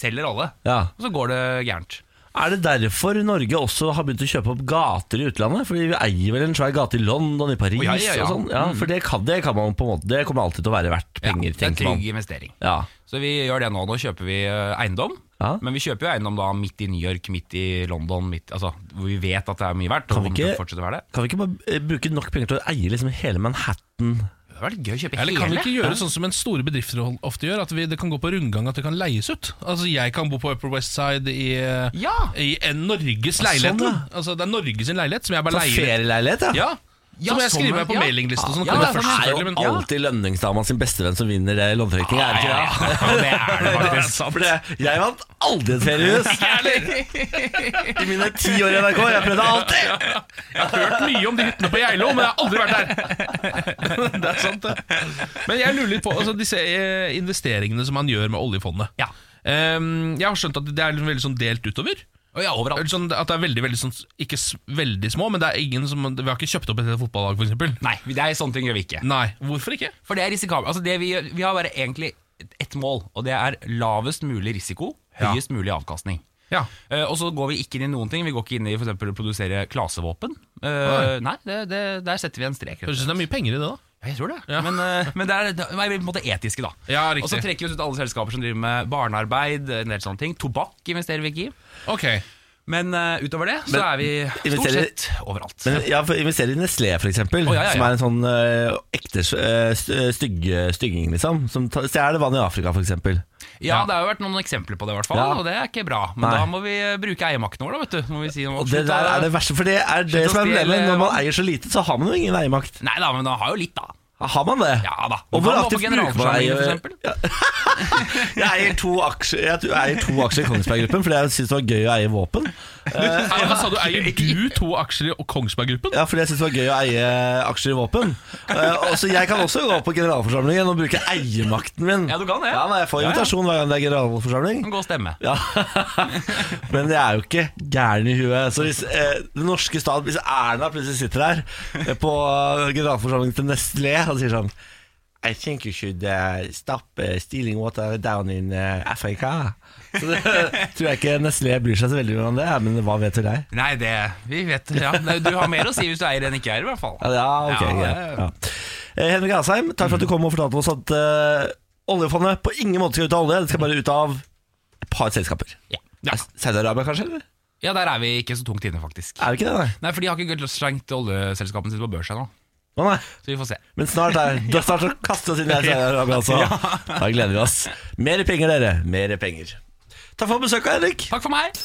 selger alle.
Ja.
Og så går det gærent.
Er det derfor Norge også har begynt å kjøpe opp gater i utlandet? Fordi vi eier vel en svær gate i London, i Paris
Å, ja, ja, ja.
og sånn? Ja, for det, kan, det, kan man på en måte, det kommer alltid til å være verdt penger,
ja, det er
tenker man.
trygg investering.
Ja.
Så vi gjør det nå. Nå kjøper vi eh, eiendom.
Ja.
Men vi kjøper jo eiendom da midt i New York, midt i London, midt, altså, hvor vi vet at det er mye verdt.
Kan
Og
vi
kommer til å
ikke-
fortsette å være det.
Kan vi ikke bare eh, bruke nok penger til å eie liksom hele Manhattan?
Det hadde vært gøy å kjøpe
Eller kan vi
hele.
ikke gjøre sånn som en store bedrifter hol- ofte gjør, at vi, det kan gå på rundgang at det kan leies ut? Altså Jeg kan bo på Upper West Side i, eh,
Ja!
i en Norges
Ja, sånn,
leilighet.
ja.
Altså Det er Norges sin leilighet som jeg
Ta
bare leier.
ferieleilighet, ja?
Ja,
Ja,
Så må jeg
sånn,
skrive meg på
ja.
mailingliste og sånn.
Ja,
kommer
ja,
først,
sånn
Det er jo
selvfølgelig, men-
alltid lønningsdama sin bestevenn som vinner eh, loddtrekning, er det ikke det?
Ja, det er det
Det er
faktisk.
sant, for det- Jeg vant aldri et feriehus! I mine ti år i NRK. Jeg prøvde alltid!
Jeg har hørt mye om de hyttene på Geilo, men jeg har aldri vært der. Det er sant, det. Men jeg lurer litt på altså, disse eh, investeringene som man gjør med oljefondet.
Ja.
Ehm, jeg har skjønt at det er liksom veldig sånn delt utover.
Og ja, overalt.
Eller Sånn, at det er veldig, veldig sånn, Ikke s- veldig små, men det er ingen som Vi har ikke kjøpt opp et helt fotballag, for eksempel
Nei, det er sånne ting gjør vi ikke.
Nei, hvorfor ikke?
For det er risikabelt. Altså, det vi, gjør- vi har bare egentlig ett mål, og det er lavest mulig risiko,
Ja.
høyest mulig avkastning.
Ja,
Eh, og så går vi ikke inn i noen ting. Vi går ikke inn i for eksempel å produsere klasevåpen. Eh, nei, det, det, der setter vi en strek. rett
Høres
og
ut
slett.
som det er mye penger i det, da.
Ja, Jeg tror det.
Ja.
Men, eh, men det er, det er på en måte etiske, da.
Ja,
og så
riktig.
trekker vi oss ut alle selskaper som driver med barnearbeid. En del sånne ting Tobakk investerer vi ikke i.
Ok
Men eh, utover det så
Men
er vi stort
investerer-
sett overalt.
Men jeg får investere i Nestlé, for eksempel.
Å, ja, ja, ja.
Som er en sånn eh, ekte eh, st- stygge, stygging, liksom. Som ta- stjeler vann i Afrika, for eksempel.
ja, Det har jo vært noen eksempler på det, i hvert fall
Ja.
og det er ikke bra. Men
Nei.
da må vi eh, bruke eiermakten vår, da. vet du Må vi si noe.
Og det der er det verste, for det er det
Slutt å
som er problemet.
stjele
Når man
vann.
eier så lite, så har man jo ingen eiermakt.
Nei da, men da har jo litt, da.
Har man det?
Ja da.
Og hvor
Hva med
aktivt bruker
på
man
generalforsamlingen, for
eier...
eksempel?
Ja. jeg eier to aksjer Jeg eier to aksjer i Kongsberg Gruppen, fordi jeg syns det var gøy å eie våpen.
Nei, Hva sa du? Eier du to aksjer i Kongsberg-gruppen?
Ja, fordi jeg syns det var gøy å eie aksjer i våpen. Eh, og så jeg kan også gå på generalforsamlingen og bruke eiermakten min.
Ja, du kan det.
Ja, nei, Jeg får
Ja, ja.
invitasjon hver gang det er generalforsamling.
Gå og stemme.
Ja. Men jeg er jo ikke gæren i huet. Så hvis eh, den norske stat, hvis Erna plutselig sitter her eh, på generalforsamlingen til Nestlé og sier sånn I think you should eh, stop eh, stealing water down in eh, Africa. Så det tror jeg ikke Nestlé bryr seg så veldig mye om det, men hva vet vel jeg?
Nei, det Vi vet ja. Nei, Du har mer å si hvis du eier enn ikke eier, i hvert fall.
Ja, ja, ok,
Ja,
greit.
ja, ja.
ja. Eh, Henrik Asheim, takk for at du kom og fortalte oss at eh, oljefondet på ingen måte skal ut av olje. Det skal bare ut av et par selskaper.
Ja.
Er Saudi-Arabia, kanskje? eller?
Ja, der er vi ikke så tungt inne, faktisk.
Er det ikke det, nei?
Nei, for de har ikke slengt oljeselskapene sine på børs ennå.
Å, nei.
Så vi får se.
Men snart er da snart så kaster vi oss inn i Saudi-Arabia, altså. Da gleder vi oss. Mer penger, dere. Mer penger. Takk for besøket, Henrik.
Takk for meg!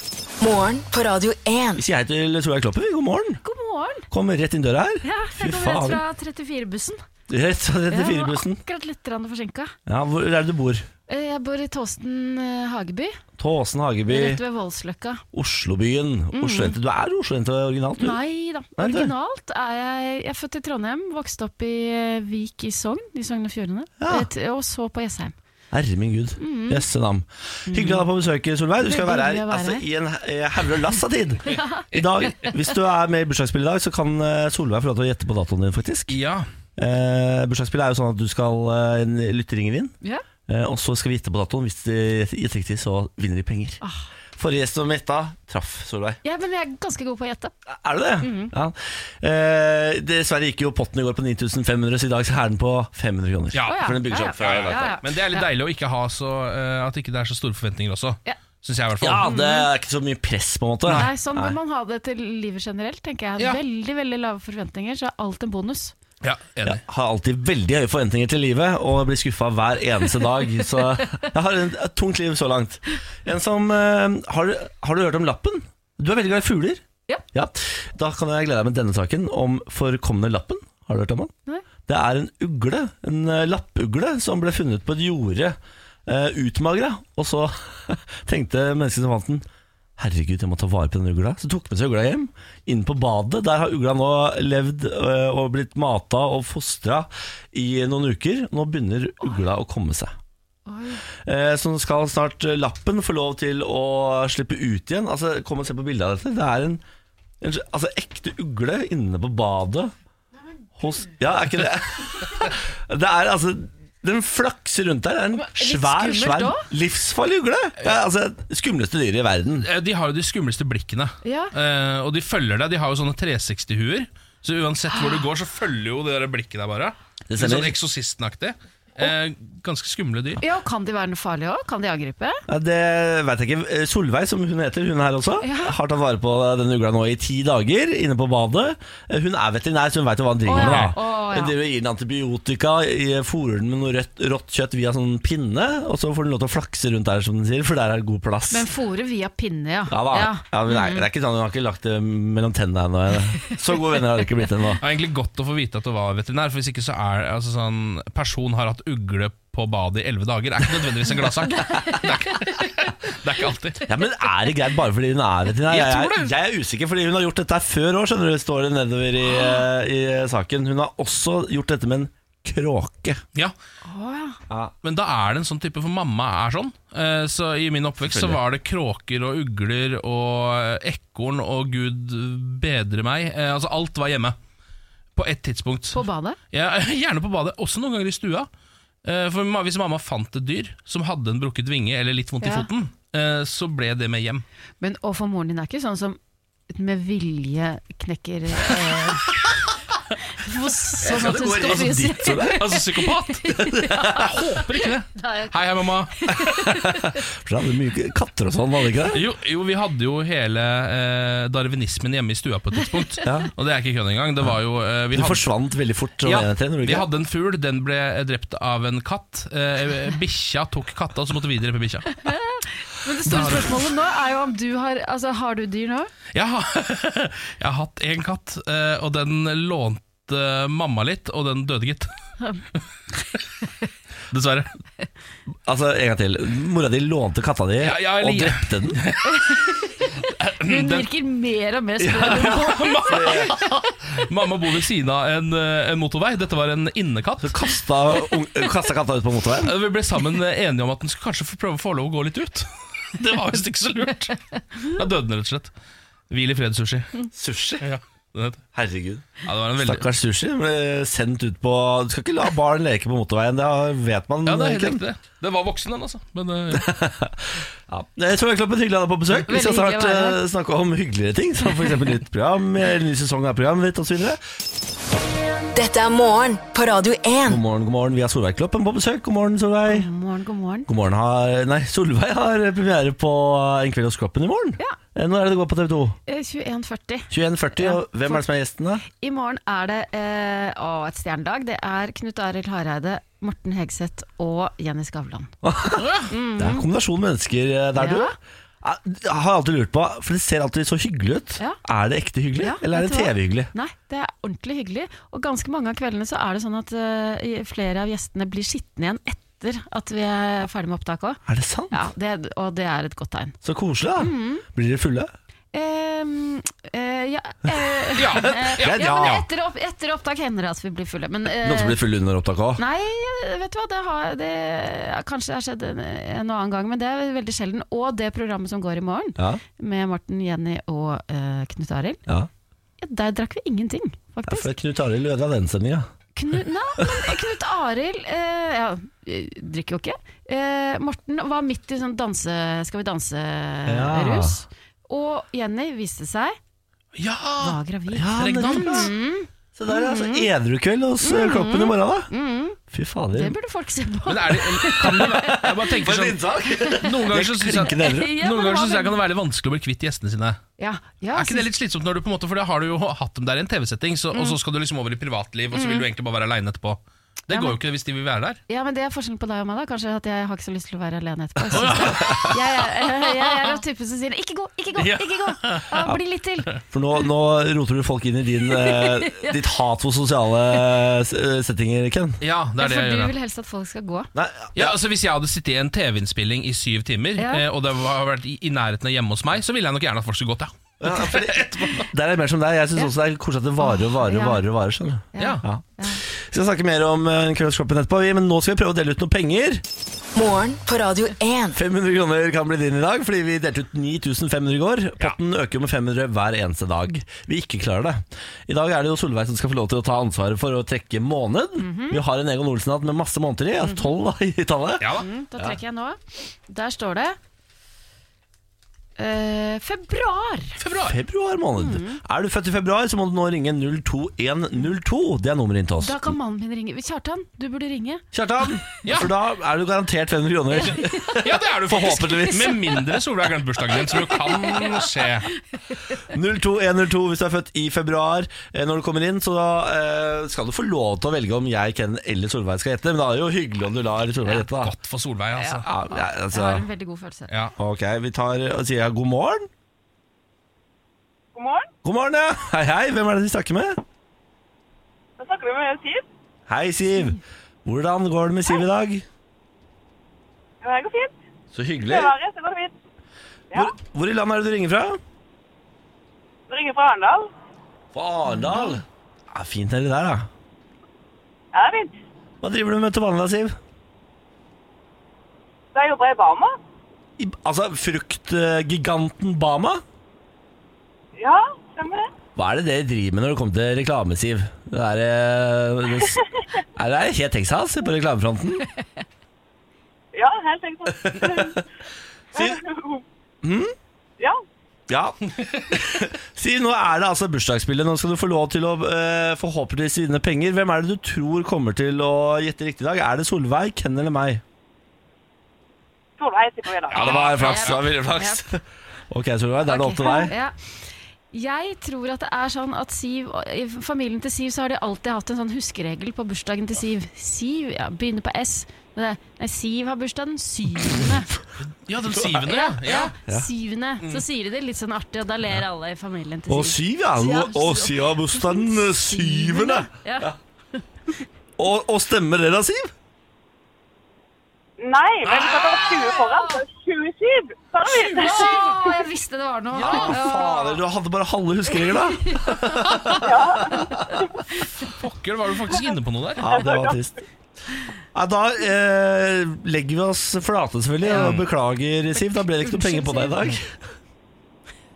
Morgen på Radio 1.
Vi sier hei til Solveig Kloppen. God morgen.
God morgen.
Kom rett inn døra her.
Ja,
Fy
jeg kommer rett fra
faen.
34-bussen.
Rett fra 34-bussen.
Jeg var akkurat litt forsinka.
Ja, hvor er det du bor?
Jeg bor i Tåsen eh, Hageby,
Tåsen Hageby,
rett ved Voldsløkka.
Oslobyen. Oslojente. Du er oslojente originalt, du.
Nei da.
Nei, det-
Originalt er jeg Jeg er født i Trondheim, vokste opp i eh, Vik i Sogn, i Sogn og Fjordane.
Ja.
Et- Og så på Jessheim.
Herre min gud. Jøsse nam. Hyggelig å ha deg på besøk, Solveig. Du skal
Mm. Veldig
være her
hyggelig å være
altså,
her.
i en eh, haug og lass av tid. I dag, Hvis du er med i bursdagsspillet i dag, så kan eh, Solveig få lov til å gjette på datoen din, faktisk.
Ja,
Eh, bursdagsspillet er jo sånn at du skal eh, en lytter ringer inn,
Ja.
eh, og så skal vi gjette på datoen. Hvis de gjetter riktig, så vinner de penger.
Ah.
Forrige gjest som gjetta, traff Solveig.
ja, men jeg er ganske god på å gjette.
Er det det?
Mhm.
Ja. Eh, dessverre gikk jo potten i går på 9500, så i dag så er den på 500 kroner.
Ja,
Å, ja.
For den bygger seg
Ja,
opp fra
ja,
i dag.
ja, ja.
Men det er litt deilig å ikke ha så eh, At ikke det er så store forventninger også.
Ja.
Syns jeg, i hvert fall.
Ja, det er ikke så mye press, på en måte.
Nei, sånn bør man ha det til livet generelt, tenker jeg.
Ja.
Veldig veldig lave forventninger, så er alt en bonus.
Ja, enig.
Har alltid veldig høye forventninger til livet og blir skuffa hver eneste dag. Så jeg har en- et tungt liv så langt. En som, eh, har, du- har du hørt om Lappen? Du er veldig glad i fugler.
Ja.
Da kan jeg glede deg med denne saken om forkomne Lappen. Har du hørt om han?
Nei.
Det er en ugle, en eh, lappugle, som ble funnet på et jorde, uh, utmagra. Og så tenkte mennesket som fant den Herregud, jeg må ta vare på den ugla. Så tok med seg ugla hjem, inn på badet. Der har ugla nå levd øh, og blitt mata og fostra i noen uker. Nå begynner ugla å komme seg.
Oi.
Eh, Så nå skal snart eh, lappen få lov til å slippe ut igjen. Altså, Kom og se på bildet av dette. Det er en, en sl- altså, ekte ugle inne på badet hos Ja, er ikke det Det er altså Den flakser rundt der. Det er en
Men litt
svær,
skummelt
svær,
også?
livsfarlig ugle. Det er altså skumleste dyret i verden.
Eh, De har jo de skumleste blikkene,
Ja.
eh, og de følger deg. De har jo sånne 360-huer, så uansett hvor du går, så følger jo det der blikket deg bare.
Det
Litt
stemmer.
Sånn Eksorsistenaktig. Eh, ganske skumle dyr.
Ja, og Kan de være noe farlige òg? Kan de angripe?
Ja, det vet jeg ikke. Eh, Solveig, som hun heter, hun her også,
Ja.
har tatt vare på den ugla nå i ti dager inne på badet. Eh, Hun er veterinær, så hun veit hva hun driver
Å, ja.
med. da.
Å, ja.
Hun driver og gir den antibiotika, i- eh, fôrer den med noe rødt, rått kjøtt via sånn pinne, og så får den lov til å flakse rundt der, som den sier, for der er det god plass.
Men fôre via pinne, ja. Mm.
ja da. Ja. men det, er, det er ikke sånn, Hun har ikke lagt det mellom tennene ennå. Så gode venner har det ikke blitt ennå.
Det er egentlig godt å få vite at du var veterinær, for hvis ikke så er altså sånn Person har hatt ugle på badet i elleve dager, er ikke nødvendigvis en gladsak. Det, er ikke- det er ikke alltid.
Ja, men Er det greit bare fordi hun er veterinær?
Jeg
Jeg,
tror
er-
det.
jeg er usikker, fordi hun har gjort dette her før òg, skjønner du. Står det nedover i, eh, i saken. Hun har også gjort dette med en kråke.
Ja,
Å, ja.
Men da er det en sånn type, for mamma er sånn. Eh, Så I min oppvekst så var det kråker og ugler og ekorn og gud bedre meg. Eh, Altså Alt var hjemme på ett tidspunkt.
På badet?
Ja, gjerne på badet, også noen ganger i stua. Eh, For ma- Hvis mamma fant et dyr som hadde en brukket vinge eller litt vondt i
Ja.
foten, eh, så ble det med hjem.
Men og for moren din er ikke sånn som med vilje knekker eh, for- Sånn at hun skal fryse.
Altså psykopat! Jeg håper ikke det. Hei, hei, mamma.
For det hadde mye katter og sånn, var det ikke det?
Jo, jo, vi hadde jo hele eh, darwinismen hjemme i stua på et tidspunkt.
Ja.
Og det er ikke kødd engang. Det var jo eh, vi
Du
hadde-
forsvant veldig fort. Sånn
Ja,
en etter en, gjorde du
vi
ikke?
hadde en fugl, den ble drept av en katt. Eh, bikkja tok katta, så måtte vi drepe bikkja.
Men det store spørsmålet nå er jo om du har Altså, har du dyr nå?
Jeg har, jeg har hatt én katt, eh, og den lånte mamma litt, og den døde, gitt. Dessverre.
Altså, En gang til. Mora di lånte katta di
Ja, ja, eller-
og drepte den.
Hun virker mer og mer sprø.
Mamma bor ved siden av en, eh, en motorvei. Dette var en innekatt.
Kasta, ung- kasta katta ut på motorveien.
Eh, Vi ble sammen eh, enige om at den skulle kanskje få prøve å få lov å gå litt ut. Det var visst ikke så lurt. Da døde den rett og slett. Hvil i fred, sushi.
Sushi?
Ja, den het.
Herregud.
Ja, det var en veldig
Stakkars sushi. Ble sendt ut på Du skal ikke la barn leke på motorveien, det vet man.
Ja, det er helt
ikke.
riktig. det. Det var voksen, den, altså. Men eh,
Ja. Jeg tror det er kloppen hyggelig å ha deg på besøk. Vi
Veldig
skal snart
hyggelig å være
eh, snakke om hyggeligere ting, som f.eks. nytt program, eller ny sesong av programmet ditt osv.
Dette er morgen på Radio 1.
God morgen, god morgen. Vi har Solveig Kloppen på besøk. God morgen, Solveig.
God morgen, god morgen.
God morgen har, nei, Solveig har eh, premiere på eh, En kveld hos Kloppen i morgen.
Ja.
Eh, Når er det det går på TV 2?
Eh, 21.40.
21.40.
Ja,
og hvem er det som er gjesten, da?
I morgen er det eh, å, et stjernedag. Det er Knut Arild Hareide, Morten Hegseth og Jenny Skavlan.
Det er en kombinasjon mennesker eh, der,
Mm. Ja.
du. Jeg har alltid lurt på, for det ser alltid så hyggelig ut.
Ja.
Er det ekte hyggelig,
Ja,
eller er
vet
det
du hva?
TV-hyggelig?
Nei, det er ordentlig hyggelig. Og ganske mange av kveldene så er det sånn at eh, flere av gjestene blir sittende igjen etter at vi er ferdig med opptaket òg.
Er det sant?
Ja, Mm. det, og det er et godt tegn.
Så koselig, da. Blir dere fulle?
Eh. Ehm, eh, ja, eh,
Ja,
eh,
ja,
ja, men
ja.
etter, opp, etter opptak hender det at vi blir fulle. Men eh,
Noen som blir fulle under opptaket òg?
Nei, eh, vet du hva, det har det, ja, Kanskje det har skjedd en, en annen gang, men det er veldig sjelden. Og det programmet som går i morgen,
Ja.
med Morten, Jenny og eh, Knut Arild,
ja.
ja, der drakk vi ingenting,
Ja,
faktisk.
for Knut Arild ødela den sendinga.
Knu, nei, men Knut Arild eh, ja, eh, drikker jo ikke. Eh, Morten var midt i sånn danse, Skal vi danse-rus. Og Jenny viste seg
ja!
var gravid.
Ja,
Rekk
nettopp, Mm.
dans.
ja. Så der er altså edrukveld hos eh, Kloppen i morgen, da. Fy
Det
fader.
burde folk se på.
Men er det, kan det være Jeg bare tenker sånn Noen ganger så syns jeg,
Klinkende edru.
Ja,
noen
men
ganger
hva
synes jeg
med-
kan det være litt vanskelig å bli kvitt gjestene sine.
Ja, ja,
Er ikke det litt slitsomt når du på en måte For da har du jo hatt dem der i en TV-setting, så- og
Mm.
så skal du liksom over i privatliv, og så vil du egentlig bare være aleine etterpå. Det
Ja,
går
men-
jo ikke hvis de vil være der.
Ja, men Det er forskjellen på deg og meg. da Kanskje at Jeg har ikke så lyst til å være alene etterpå. Jeg, synes det. jeg, er- jeg er av typen som sier 'ikke gå, ikke gå,
Ja.
ikke gå'. Ja, bli litt til.
For nå, nå roter du folk inn i din, eh, ditt hat for sosiale eh, settinger, Ken.
Ja, det er det jeg
For
gjør.
du
ja.
vil helst at folk skal gå.
Nei,
Ja, altså Hvis jeg hadde sittet i en TV-innspilling i syv timer,
Ja.
eh, og det var vært i, i nærheten av hjemme hos meg, så ville jeg nok gjerne at folk skulle gått, ja.
ja, for der er jeg mer som deg. Jeg syns også det er koselig at det varer og varer og
Ja.
varer. og varer skjønner du.
ja.
Vi skal snakke mer om eh, Kveldskloppen etterpå, vi, men nå skal vi prøve å dele ut noen penger.
Morgen på Radio 1.
500 kroner kan bli din i dag, fordi vi delte ut 9500 i går. Potten øker jo med 500 hver eneste dag. Vi ikke klarer det. I dag er det jo Solveig som skal få lov til å ta ansvaret for å trekke måned. Vi har en Egon Olsen-hatt med masse måneder i, altså tolv da, i tallet.
Ja da.
Mm, da trekker jeg nå. Der står det eh, februar.
Februar.
Februar måned. Er du født i februar, så må du nå ringe 02102. Det er nummeret inn til oss.
Da kan mannen min ringe. Kjartan, du burde ringe.
Kjartan,
Ja.
for da er du garantert 500 kroner.
Ja, det er du faktisk.
Forhåpentligvis.
Med mindre Solveig har glemt bursdagen din, så det kan skje.
02102 hvis du er født i februar. Eh, Når du kommer inn, så da eh, skal du få lov til å velge om jeg, Ken eller Solveig skal gjette. Men da er det jo hyggelig om du lar Solveig gjette, da.
Godt for Solveig, altså.
Ja, ja,
Jeg har
altså.
en veldig god følelse.
Ja.
Ok, vi tar og sier god morgen.
God morgen.
God morgen, ja. Hei, hei. Hvem er det vi snakker med?
Da snakker vi med Siv.
Hei, Siv. Hvordan går det med Siv i dag?
Ja, det går fint.
Så hyggelig.
Februari, så går det fint. Ja.
Hvor, hvor i landet er det du ringer fra?
Du ringer fra Arendal.
Fra Arendal. Ja, fint er det der, da.
Ja, det er fint.
Hva driver du med til vanlig, da, Siv?
Da jobber jeg i Barma.
I, altså, fruktgiganten Bama?
Ja, stemmer det.
Hva er det dere driver med når det kommer til reklame, Siv? Det er, eh, det, s- er det helt Texas på reklamefronten?
Ja, helt enkelt.
Siv,
ja.
ja. Siv, nå er det altså bursdagsspillet. Nå skal du få lov til å eh, forhåpentligvis vinne penger. Hvem er det du tror kommer til å gjette riktig i dag? Er det Solveig, Ken eller meg?
Solveig sitter på i dag.
Ja, det var flaks. Det var veldig flaks. Ok, Solveig, da er det opp til deg.
Ja. Jeg tror at det er sånn at Siv I familien til Siv så har de alltid hatt en sånn huskeregel på bursdagen til Siv. Siv ja, begynner på S. men det er- Nei, Siv har bursdag den syvende.
ja, den syvende.
Ja,
Ja.
ja, syvende. Så sier de det litt sånn artig, og da ler alle i familien til
Og
Siv.
syv, ja.
Ja,
Og Siv har bursdag den syvende.
Ja.
Og, og stemmer det da, Siv?
Nei, men vi skal ta 20 foran. så 27. Så er det fint.
Å, jeg visste det var noe!
Fader, du hadde bare halve huskeregler, da.
Pokker, var du faktisk inne på noe der?
Ja, det var trist. Ja, da eh, legger vi oss flate, selvfølgelig. Og beklager, Siv. Da ble det ikke noe penger på deg i dag.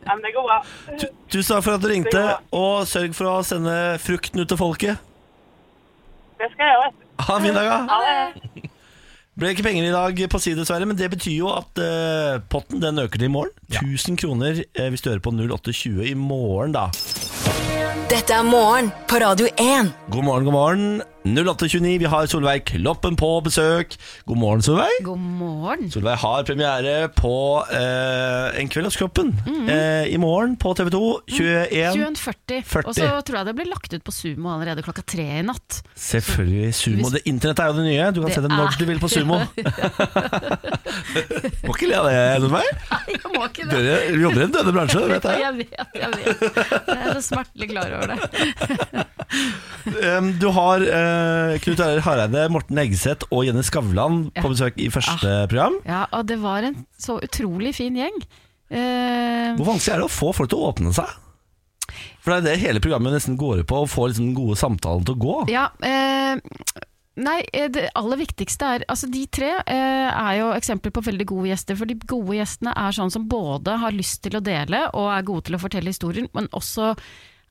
Ja, men det går bra.
Tu tusen takk for at du ringte, og sørg for å sende frukten ut til folket.
Det skal jeg gjøre. vet du.
Ha en fin dag, da.
Ha det.
Ble ikke penger i dag på si, dessverre, men det betyr jo at eh, potten den øker til i morgen. 1000 kroner eh, hvis du hører på 0820 i morgen, da.
Dette er morgen på Radio 1.
God morgen, god morgen. 0829, vi har Solveig Kloppen på besøk. God morgen, Solveig.
God morgen.
Solveig har premiere på eh, En kveld hos kroppen
Mhm.
eh, i morgen på TV 2. 21.
21.40.
40.
Og så tror jeg det blir lagt ut på Sumo allerede klokka tre i natt.
Selvfølgelig Sumo.
Hvis-
Det, internett er jo det nye. Du kan
Det
se det når
er-
du vil på Sumo. Må ikke le av det, Solveig.
Jeg må ikke det.
Dere jobber i en døde bransje, vet jeg.
Jeg vet, jeg vet. Jeg er så smertelig klar over det.
Em, du har eh, Knut Arild Hareide, Morten Eggeseth og Jenny Skavlan
Ja. Ah. Mm.
på besøk i første program.
Ja, og det var en så utrolig fin gjeng. Eh,
Hvor vanskelig er det å få folk til å åpne seg? For det er det hele programmet nesten går ut på, å få liksom den gode samtalen til å gå.
ja, eh, nei, eh, det aller viktigste er Altså, de tre eh, er jo eksempler på veldig gode gjester. For de gode gjestene er sånn som både har lyst til å dele og er gode til å fortelle historier, men også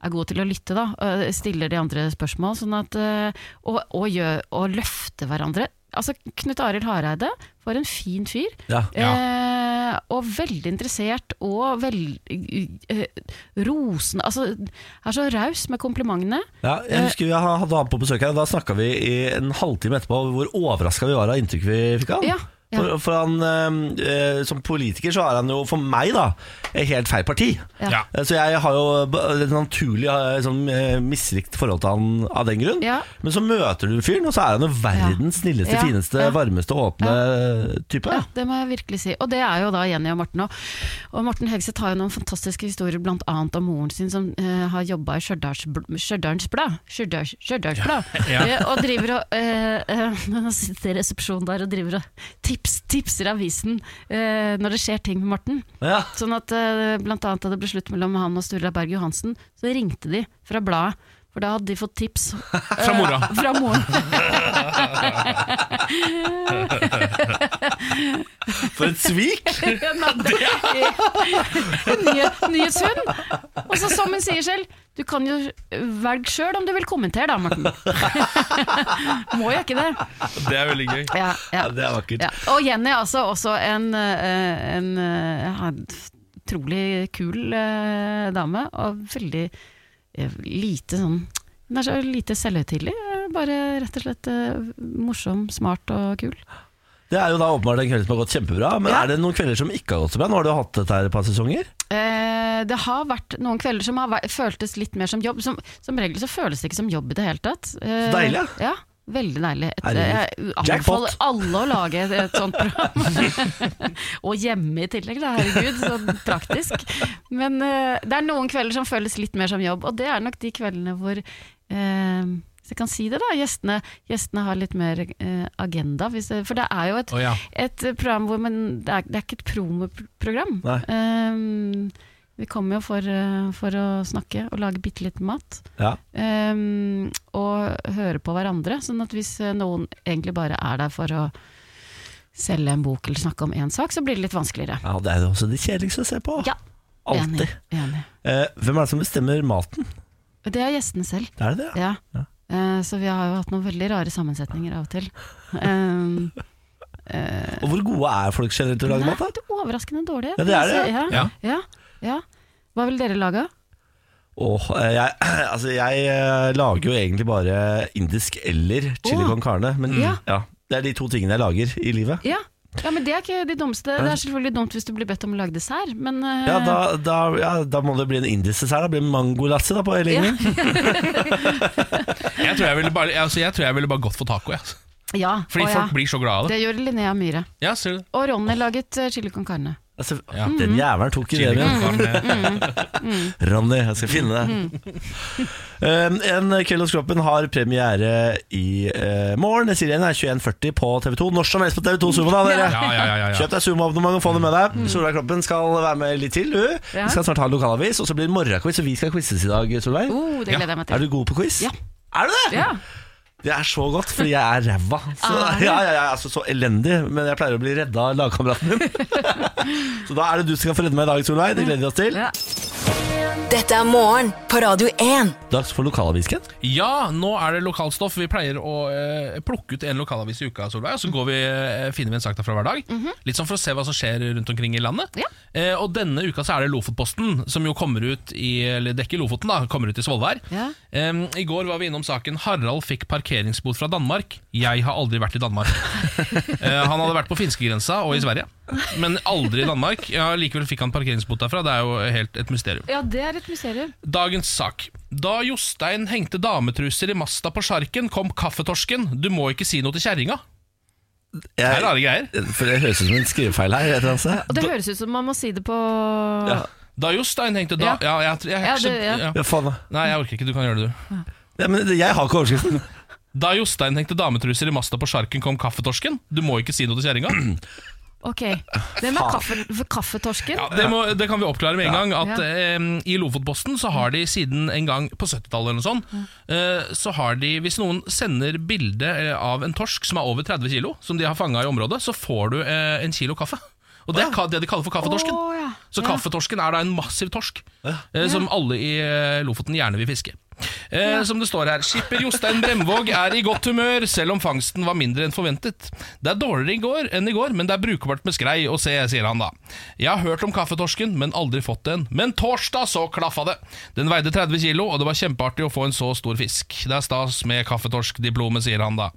er gode til å lytte, da. eh, Stiller de andre spørsmål. Sånn at, eh, og, og, gjør, og løfte hverandre. Altså, Knut Arild Hareide, for en fin fyr.
Ja.
Eh, og veldig interessert og veldig eh, rosende Altså, er så raus med komplimentene.
Ja,
Eh,
jeg husker vi hadde han på besøk her, og da snakka vi i en halvtime etterpå hvor overraska vi var av inntrykket vi fikk av han.
Ja, ja.
For, for han, eh, som politiker så er han jo, for meg da, et helt feil parti.
Ja.
Ja.
Eh, Så jeg har jo b- et naturlig eh, sånn, eh, misrikt forhold til han av den grunn.
Ja.
Men så møter du fyren, og så er han jo verdens snilleste,
Ja,
fineste,
ja.
varmeste, åpne type.
Ja, det må jeg virkelig si. Og det er jo da Jenny og Morten òg. Og Morten Hegseth har jo noen fantastiske historier, bl.a. om moren sin som eh, har jobba i Stjørdals Bl- Stjørdals Blad. Stjørdals Stjørdals Blad.
Ja.
Eh, og driver og eh, eh, Nå sitter jeg i resepsjonen der og driver og tips, tipser avisen eh, når det skjer ting med Morten.
Ja.
Sånn at eh, blant annet da det ble slutt mellom han og Sturla Berg Johansen, så ringte de fra bladet For da hadde de fått tips
Fra mora.
Eh, fra mora.
For et svik!
Den hadde- Nye- Nyhetshund. Og så som hun sier selv, du kan jo velge sjøl om du vil kommentere da, Morten. Må jeg ikke det?
Det er veldig gøy.
Ja, ja.
Ja, det er vakkert.
Ja. Og Jenny er altså også en, eh, en, eh, ja, en utrolig kul eh, dame, og veldig eh, lite sånn Hun er så lite selvhøytidelig, eh, bare rett og slett eh, morsom, smart og kul.
Det er jo da åpenbart en kveld som har gått kjempebra, men
Ja.
er det noen kvelder som ikke har gått så bra? Nå har du hatt dette her et par sesonger.
Eh, det har vært noen kvelder som har væ- føltes litt mer som jobb. Som, som regel så føles det ikke som jobb i det hele tatt. Eh,
Så deilig,
ja. Veldig deilig. Et, eh,
Herregud.
jeg
Jackpot.
anbefaler alle å lage et, et sånt program. og hjemme i tillegg, da. Herregud, så praktisk. Men eh, det er noen kvelder som føles litt mer som jobb, og det er nok de kveldene hvor eh, hvis jeg kan si det, da. Gjestene, gjestene har litt mer eh, agenda. Hvis det, for det er jo et
Å ja.
et program hvor man Det er, det er ikke et promoprogram.
Nei.
Ehm, vi kommer jo for, eh, for å snakke og lage bitte litt mat.
Ja.
Ehm, og høre på hverandre. Sånn at hvis eh, noen egentlig bare er der for å selge en bok eller snakke om én sak, så blir det litt vanskeligere.
ja, det er jo også det kjedeligste å se på.
Ja,
Alltid.
enig. enig.
Eh, hvem er det som bestemmer maten?
Det er gjestene selv.
Det er det det? ja? Ja.
Ja. Eh, så vi har jo hatt noen veldig rare sammensetninger av og til. Ehm,
Og hvor gode er folk generelt til å lage
nei,
mat? da?
det er overraskende dårlig.
Ja, det er det,
Ja,
Ja.
ja. ja, ja. Hva ville dere laga?
Åh, eh, jeg, altså jeg eh, lager jo egentlig bare indisk eller chili
Åh.
con carne. Men ja.
Ja.
det er de to tingene jeg lager i livet.
Ja. ja, men det er ikke de dummeste. Det er selvfølgelig dumt hvis du blir bedt om å lage dessert, men eh,
Ja, da, da, ja, da må det bli en indisk dessert. Da blir det mangolassi da på hele
Ja.
linjen.
Jeg tror jeg ville bare, altså, jeg tror jeg ville bare gått for taco. Jeg. altså.
ja.
Fordi
å, ja.
folk blir så glade av det.
Det gjør Linnea Myhre.
Ja, ser du det?
Og Ronny laget eh, chili con carne.
Altså,
Ja.
mm.
Den jævelen tok i det igjen.
Mm.
Ronny, jeg skal finne deg.
Mm.
Um, en kveld hos kroppen har premiere i eh, morgen. Jeg sier igjen, det er 21.40 på TV2. Når som helst på TV2 Sumo, da, dere.
Ja, ja, ja, ja, ja.
Kjøp deg Sumo-abonnement og få det med deg. Solveig Kloppen skal være med litt til. Du.
Mm. Ja.
Vi skal snart ha lokalavis, og så blir det morgenquiz, og vi skal quizes i dag, Solveig.
Oh, det
Ja.
gleder jeg meg
Er
til.
du god på quiz?
Ja.
Er du det?
Ja.
Det er så godt, fordi jeg er ræva. Så,
Er du?
ja, ja, ja, altså, så elendig, men jeg pleier å bli redda av lagkameraten min. så da er det du som skal få redde meg i dag, Solveig. Det gleder vi oss til.
Ja.
Dette er morgen på Radio 1.
Dags for lokalavisken.
Ja, nå er det lokalstoff. Vi pleier å eh, plukke ut en lokalavis i uka, Solveig, og så går vi, eh, finner vi en sak derfra hver dag. Litt sånn for å se hva som skjer rundt omkring i landet. Eh, og denne uka så er det Lofotposten, som jo kommer ut i, eller dekker Lofoten, da, kommer ut i Svolvær.
Ja.
Em, I går var vi innom saken 'Harald fikk parkeringsbot fra Danmark'. Jeg har aldri vært i Danmark. Eh, han hadde vært på finskegrensa og i Sverige, men aldri i Danmark. Ja, likevel fikk han parkeringsbot derfra. Det er jo helt et mysterium.
ja, det er et mysterium.
Dagens sak. Da Jostein hengte dametruser i masta på sjarken, kom kaffetorsken. Du må ikke si noe til kjerringa. Det er rare greier.
For Det høres ut som en skrivefeil her. et eller annet sted.
Og det høres ut som man må si det på
Ja.
Da Jostein hengte da...
Ja.
Ja, jeg, jeg, jeg,
Ja,
jeg,
det- ja.
Ja, faen da.
Nei, jeg orker ikke. Du kan gjøre det, du.
Ja, men det- jeg har ikke overskriften.
Da Jostein hengte dametruser i masta på sjarken, kom kaffetorsken. Du må ikke si noe til kjerringa.
Ok. Hvem er kaffe, kaffetorsken?
Ja, det, må- det kan vi oppklare med en gang. At
Ja.
em, I Lofotposten så har de siden en gang på 70-tallet eller noe sånt,
Mm.
eh, så har de Hvis noen sender bilde eh, av en torsk som er over 30 kilo, som de har fanga i området, så får du eh, en kilo kaffe. Og Det er ka- det de kaller for kaffetorsken.
Å, ja.
Så
Ja.
kaffetorsken er da en massiv torsk, eh, som alle i eh, Lofoten gjerne vil fiske. Eh, Som det står her, skipper Jostein Bremvåg er i godt humør, selv om fangsten var mindre enn forventet. Det er dårligere i går enn i går, men det er brukbart med skrei å se, sier han da. Jeg har hørt om kaffetorsken, men aldri fått en. Men torsdag så klaffa det! Den veide 30 kilo, og det var kjempeartig å få en så stor fisk. Det er stas med kaffetorskediplomet, sier han da.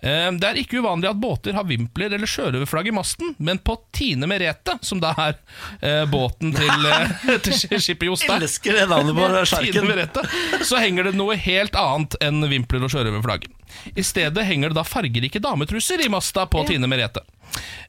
Eh, Det er ikke uvanlig at båter har vimpler eller sjørøverflagg i masten, men på Tine Merete, som da er eh, båten til, eh, til skipper Jostein
Elsker det navnet på
Tine
sjarken.
Merete, så henger det noe helt annet enn vimpler og sjørøverflagg. I stedet henger det da fargerike dametruser i masta på Tine Merete.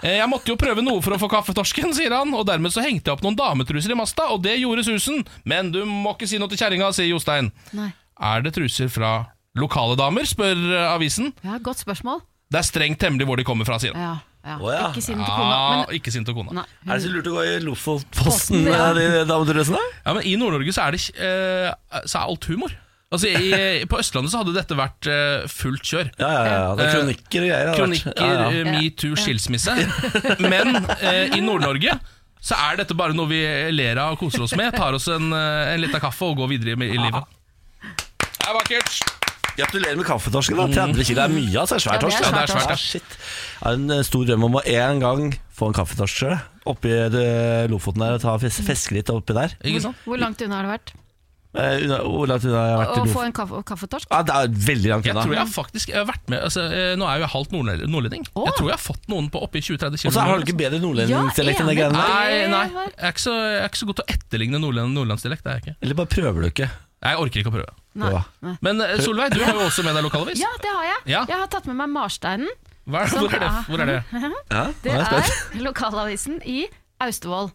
Eh, Jeg måtte jo prøve noe for å få kaffetorsken, sier han, og dermed så hengte jeg opp noen dametruser i masta, og det gjorde susen. Men du må ikke si noe til kjerringa, sier Jostein.
Nei.
Er det truser fra lokale damer, spør eh, avisen.
ja, godt spørsmål.
Det er strengt hemmelig hvor de kommer fra, sier han.
Ja, ja.
Å, ja.
Ikke si den til kona,
Ah, Ja,
men
ikke sint og kona.
Nei.
Er det så lurt å gå i Lofotposten,
Posten, ja.
eh, de dametrusene?
Ja, men I Nord-Norge så, er det ikke- eh, så er alt humor. Altså, i, på Østlandet så hadde dette vært eh, fullt kjør.
Ja, ja, ja. Det er
Eh,
kronikker og greier. det har vært.
Kronikker,
Ja, ja.
eh, metoo, skilsmisse. Men eh, i Nord-Norge så er dette bare noe vi ler av og koser oss med. Tar oss en, eh, en liten kaffe og går videre i i livet. Det er vakkert!
Gratulerer med kaffetorsken. da 30 kilo er mye, altså. Svær
Ja, det er
torsk.
Ja,
svært,
det er svært,
Ja, shit. Jeg har en eh, stor drøm om å en gang få en kaffetorsk sjøl. Oppi eh, Lofoten der og ta fes- fiske litt oppi der.
Ikke sant?
Hvor langt unna har det vært?
Eh, unna- Hvor langt unna har jeg vært i
Å få
Lofoten?
en kaffe, kaffetorsk?
Ja, det er veldig langt
Jeg tror jeg
unna.
har faktisk jeg har vært med altså, eh, Nå er jeg jo halvt nordle- nordlending.
Å.
Jeg tror jeg har fått noen på oppi 20-30 km.
Og så har du ikke bedre nordlendingsdialekt enn de
Ja,
greiene der.
Nei, nei.
Ja, vel.
Jeg er ikke så, jeg er ikke så god til å etterligne nordlend- nordlandsdialekt. Det er jeg ikke.
Eller bare prøver du ikke?
Nei, Jeg orker ikke å prøve.
Nei.
Ja.
Nei.
Men eh, Solveig, du har jo også med deg lokalavis.
Ja, det har jeg.
Ja.
Jeg har tatt med meg Marsteinen.
Hva er,
Som
hvor, er det,
er-
hvor er det?
Ja,
Det
nå er jeg spent.
er lokalavisen i Austevoll.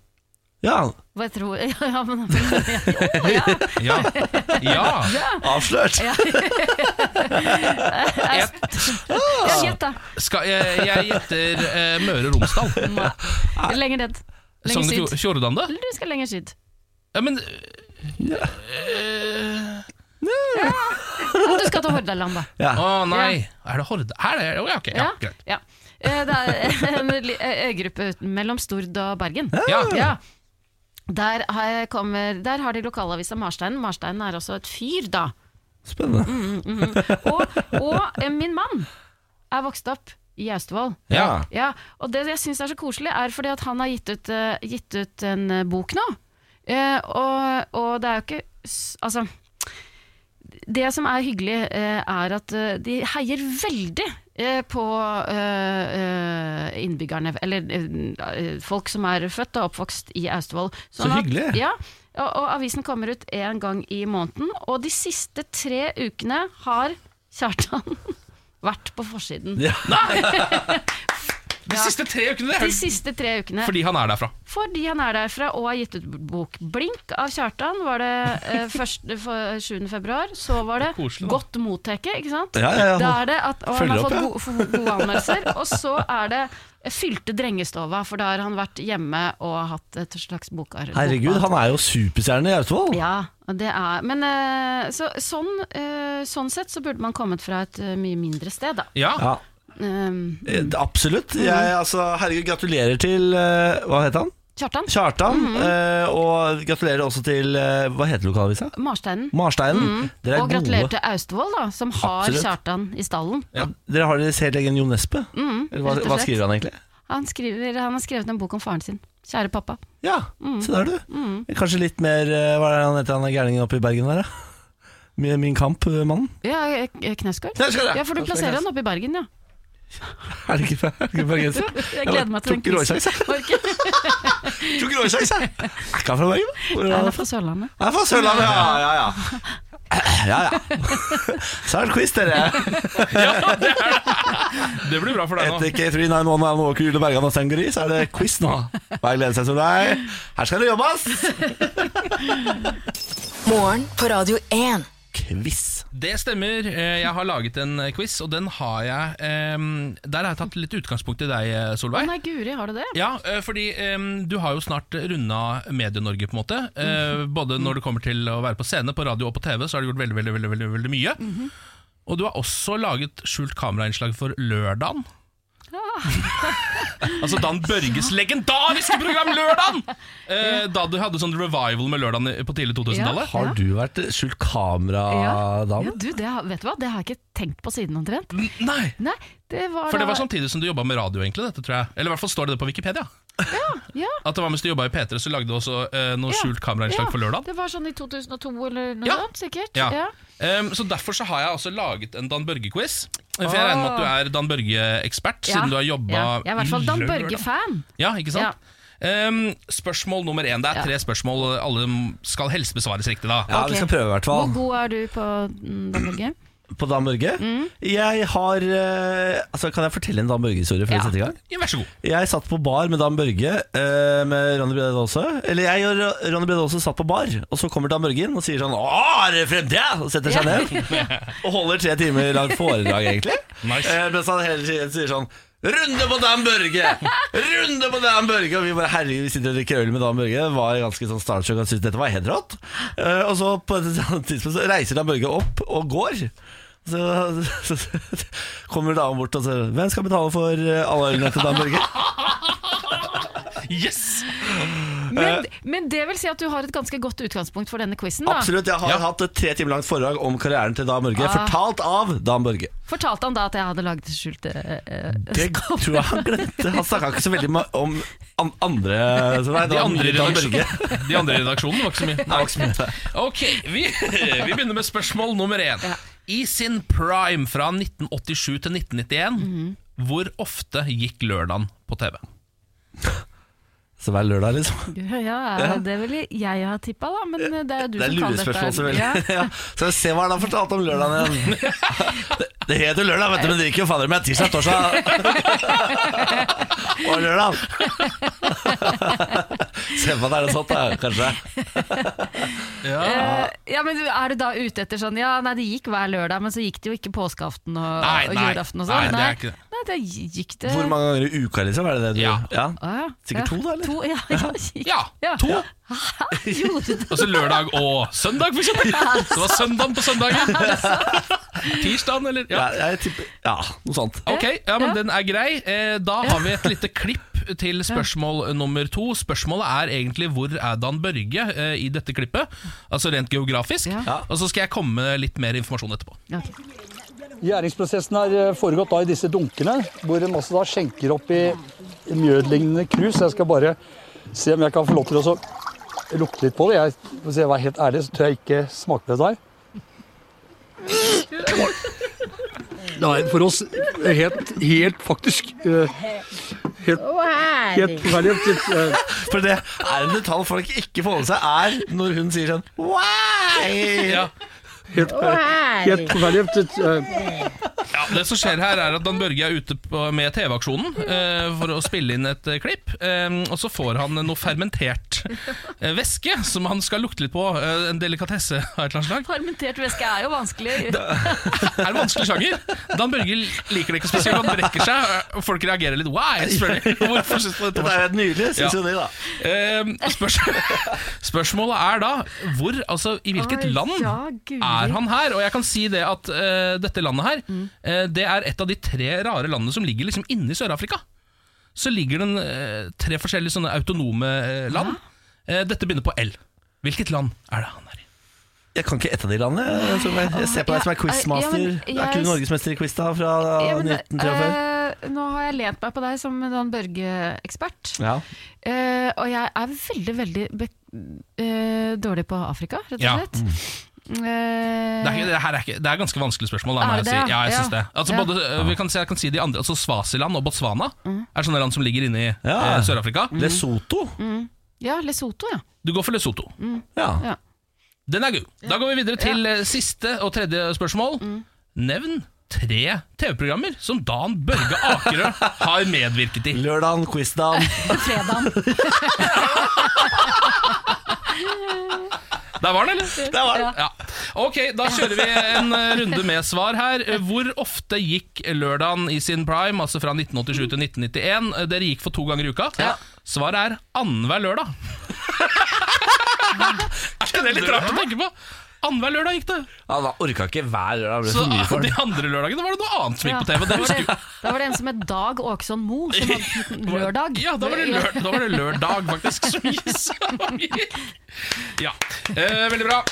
Ja,
Hva jeg tror Ja, men Å, ja.
Ja. ja.
avslørt!
Ja, Gjett, da.
Skal, jeg, jeg gjetter eh, Møre og Romsdal.
Lenger ned. Lenger
Sogn og Fjor-
syd.
Fjordane, da?
Eller du skal lenger syd.
Ja, men
Du skal til Hordaland, da.
Ja.
Å nei! Er det Horde? Her er det, Å, ja, ok, ja, greit.
ja. Eh, Det er en li- øygruppe uten- mellom Stord og Bergen.
Ja.
Ja. Der, har jeg- kommer, der har de lokalavisa Marsteinen. Marsteinen er også et fyr, da.
Spennende.
Mm. Og, og eh, min mann er vokst opp i Austevoll.
Ja.
Ja, og det jeg syns er så koselig, er fordi at han har gitt ut, eh, gitt ut en eh, bok nå. Eh, og, og det er jo ikke s- Altså. Det som er hyggelig, eh, er at eh, de heier veldig eh, på eh, eh, innbyggerne, eller eh, folk som er født og oppvokst i Austevoll. Sånn
Så
at-
hyggelig.
Ja, og, og avisen kommer ut én gang i måneden, og de siste tre ukene har Kjartan vært på forsiden.
Ja.
De siste tre ukene!
De
Det. er-
siste tre ukene.
Fordi han er derfra.
Fordi han er derfra og har gitt ut bok. 'Blink' av Kjartan var det eh, først, for 7. februar. Så var det
Koselig, da.
'Godt motteke', ikke sant?
Ja, ja, ja.
Da er det at, og han
Følger
har
opp,
fått
ja.
gode, for- gode anmeldelser. Og så er det 'Fylte drengestova', for da har han vært hjemme og hatt et slags bokarbeid.
Herregud, han er jo superstjerne i Austevoll!
Ja, det er Men eh, så, sånn, eh, sånn sett så burde man kommet fra et eh, mye mindre sted, da.
Ja.
Ja.
Eh,
Eh, Absolutt. Jeg, altså, herregud, gratulerer til eh, Hva heter han?
Kjartan.
Kjartan.
Mhm.
eh, og gratulerer også til eh, Hva heter lokalavisa?
Marsteinen.
Marsteinen. Dere er
Mhm. Og gratulerer
gode.
til Austevoll, da, som har
Absolutt.
Kjartan i stallen.
Ja. Dere har deres helt egen Jo Nesbø? Eller hva,
Mm, rett og
hva
slett.
skriver han egentlig?
Han, skriver, han har skrevet en bok om faren sin. Kjære pappa.
Ja,
Mm.
se der, du. Kanskje litt mer eh, Hva er det han heter, han gærningen oppe i Bergen der, da? Min, min Kamp-mannen?
Ja, eh, Knausgård.
Knausgård, ja.
Ja, for du plasserer han oppe i Bergen, ja.
Er det ikke, er det ikke bergenser?
Jeg gleder meg til den
Tok råsjanse.
quizen. Var ikke-
Tok råsjanse, jeg. Er ikke han fra Bergen? Hvor
Han
han
er fra Sørlandet.
Jeg er fra Sørlandet, ja, ja, ja. Ja, ja. Så er det quiz, dere.
ja det, er det. det blir bra for deg nå.
Etter K391 er noe kule Bergan og Sangeri, så er det quiz nå. Bare glede seg som deg. Her skal det jobbes!
Morgen på Radio 1.
Quiz.
Det stemmer. Eh, Jeg har laget en eh, quiz, og den har jeg ehm, Der har jeg tatt litt utgangspunkt i deg, eh,
Å
Solveig.
nei, Guri, har du det?
Ja, eh, fordi em, du har jo snart runda Medie-Norge, på en måte. Eh,
Mhm.
Både når det kommer til å være på scene, på radio og på TV, så har du gjort veldig, veldig, veldig, veldig, veldig mye.
Mhm.
Og du har også laget skjult kamerainnslag for lørdagen. altså Dan Børges legendariske program Lørdagen! Eh, da du hadde sånn revival med Lørdagen i- på tidlig 2000-tallet.
Ja.
Har du vært skjult
Ja.
kamera-dame?
ja, du, det, har- vet du hva? Det har jeg ikke tenkt på siden omtrent.
N- Nei!
Nei, det var
For det var sånn
da-
samtidig som du jobba med radio, egentlig. dette tror jeg Eller i hvert fall står det det på Wikipedia.
ja.
At det var mens du jobba i P3, så lagde du også eh, noe skjult kamerainnslag
ja,
for lørdagen.
Det var sånn i 2002 eller noe
Ja.
sånt, sikkert.
Ja.
Ja.
Ehm, så Derfor så har jeg også laget en Dan Børge-quiz. For jeg regner med at du er Dan Børge-ekspert, siden du har jobba
ja. Jeg er i hvert fall Dan Børge-fan.
Ja, ikke sant? Ehm, spørsmål nummer én. Det er tre spørsmål. Alle skal helst besvares riktig, da.
Ja,
Ok.
vi skal prøve i hvert
Hvor
fall.
god er du på mm, Dan Børge?
På Dan Børge.
Mm.
Jeg har eh, altså, Kan jeg fortelle en Dan Børge-historie før vi
Ja.
setter i gang?
Ja, vær så god.
Jeg satt på bar med Dan Børge eh, Med Ronny Brede Aase Eller jeg og Ro- Ronny Brede Aase satt på bar Og så kommer Dan Børge inn og sier sånn Åh, er det fremtid? Og setter seg ned Og holder tre timer langt foredrag egentlig
Nice.
eh, Mens han hele tiden sier sånn Runde på Dan Børge! Runde på Dan Børge! Og vi bare herregud, vi sitter og drikker øl med Dan Børge. Var ganske sånn starstruck og syntes dette var helt rått. Eh, og så på et annet tidspunkt så reiser Dan Børge opp og går. Så, så, så kommer damen bort og sier Hvem skal betale for eh, alle ølene til Dan Børge?
Yes!
Men, men det vil si at du har et ganske godt utgangspunkt for denne quizen.
Absolutt. Jeg har
Ja.
hatt et tre timer langt foredrag om karrieren til Dan Børge,
Ah.
fortalt av Dan Børge.
Fortalte han da at jeg hadde lagd skjulte eh,
Det
skap?
tror jeg han glemte. Han snakka ikke så veldig ma- om an andre så nei, det
De
var
andre i
Dan Børge.
redaksjonen, de andre i redaksjonen var ikke så
Nei,
mye.
det var ikke så mye.
Ok, vi, vi begynner med spørsmål nummer én. I sin prime fra 1987 til 1991,
Mhm.
hvor ofte gikk lørdagen på TV?
Så hver lørdag, liksom.
Ja, eh, det ville jeg ha tippa, da, men eh, det er jo du
Det er
som kan dette.
lurespørsmål, selvfølgelig.
Ja.
Ja. Så vi se hva han har fortalt om lørdagen igjen. Det, det heter lørdag, vet du, men det drikker jo fader meg tirsdag, torsdag og lørdag. Se på at det er noe sånt, da, kanskje.
Eh, ja, men du, Er du da ute etter sånn Ja, nei, det gikk hver lørdag, men så gikk det jo ikke påskeaften og,
Nei,
og
nei,
julaften og
nei,
sånn.
det er ikke det.
nei, det gikk det
Hvor mange ganger i uka, liksom? Er det det du
Ja.
Å, ja.
Sikkert
ja.
to, da, eller?
To, ja, ja, gikk.
Ja,
Ja.
to.
Gjorde det.
Altså lørdag og søndag, for eksempel. Det var søndagen på søndagen. Tirsdagen, eller?
Ja,
Ja.
jeg tipper Ja, noe sånt.
Ok, ja, men
Ja.
den er grei. Eh, Da har vi et lite klipp til spørsmål nummer to. Spørsmålet er egentlig hvor er Dan Børge eh, i dette klippet? Altså rent geografisk.
Ja.
Og så skal jeg komme med litt mer informasjon etterpå.
Ok.
Gjæringsprosessen har eh, foregått da i disse dunkene, hvor en også da skjenker opp i mjødlignende krus. Jeg skal bare se om jeg kan få lov til å så lukte litt på det. Jeg, hvis jeg var helt ærlig, så tør jeg ikke smake på dette her. Nei, for oss eh, helt, helt faktisk eh, Helt, helt forferdelig. Litt, eh,
For det er en detalj folk ikke får med seg, er når hun sier sånn Why?
Ja.
Helt, eh, helt forferdelig. Litt, eh,
Ja, det som skjer her er at Dan Børge er ute på, med TV-aksjonen eh, for å spille inn et eh, klipp. Eh, og så får han noe fermentert eh, væske som han skal lukte litt på. Eh, en delikatesse av et eller annet slag.
Fermentert væske er jo vanskelig.
Er det vanskelig sjanger? Dan Børge liker det ikke spesielt. Han brekker seg, eh, og folk reagerer litt. Why? spør de. Hvorfor synes du dette
Dette er
var
jo
sånn?
helt nydelig, syns
Ja.
jo de, da.
Eh, spørs spørsmålet er da hvor, altså, i hvilket
Oi,
land
ja, guri.
er han her? Og jeg kan si det at eh, dette landet her,
Mm.
eh, det er et av de tre rare landene som ligger liksom inne i Sør-Afrika. Så ligger det eh, tre forskjellige sånne autonome eh, land. Eh, dette begynner på L. Hvilket land er det han er i?
Jeg kan ikke ett av de landene. Jeg, tror jeg, jeg ser på deg som er
Ja,
quizmaster.
ja, men
Er ikke
jeg-
du norgesmester i quiz da, fra
Ja, men,
1943?
eh, nå har jeg lent meg på deg som Dan Børge-ekspert.
Ja.
Eh, og jeg er veldig, veldig be eh, dårlig på Afrika, rett og
Ja. Mm.
slett. Eh,
Det er, ikke- det, her er ikke, det er ganske vanskelig spørsmål. Da,
Er
må jeg
det
si.
det, ja?
Ja, jeg synes
Ja.
det. Altså,
Ja.
både, eh, vi kan si, jeg kan si de andre, altså Svasiland og Botswana
Mm.
er sånne land som ligger inne i
Ja.
eh, Sør-Afrika.
Lesotho?
Ja, Lesotho, ja.
Du går for Lesotho.
Ja.
mm. ja.
Den er god. Da går vi videre til eh, siste og tredje spørsmål. Nevn tre TV-programmer som Dan Børge Akerø har medvirket i.
Lørdagen, quizdagen.
Fredagen.
Der var den, eller?
Der var den.
Ja. Ok, da kjører vi en eh, runde med svar her. Eh, Hvor ofte gikk lørdagen i sin prime, altså fra 1987 til 1991? Eh, Dere gikk for to ganger i uka. Svaret er annenhver lørdag. er ikke det litt rart å tenke på? Annenhver lørdag gikk det.
Ja, da orka ikke hver lørdag. Det ble
Så
for mye for
de
den.
andre lørdagene var det noe annet som gikk på
Ja.
TV. Det
Da var
husker
det, da var det en som het Dag Åkesson Moe, som hadde lørdag.
Ja, da var det, lør, da var det lørdag, faktisk. Som gikk sanger. ja, eh, Veldig bra.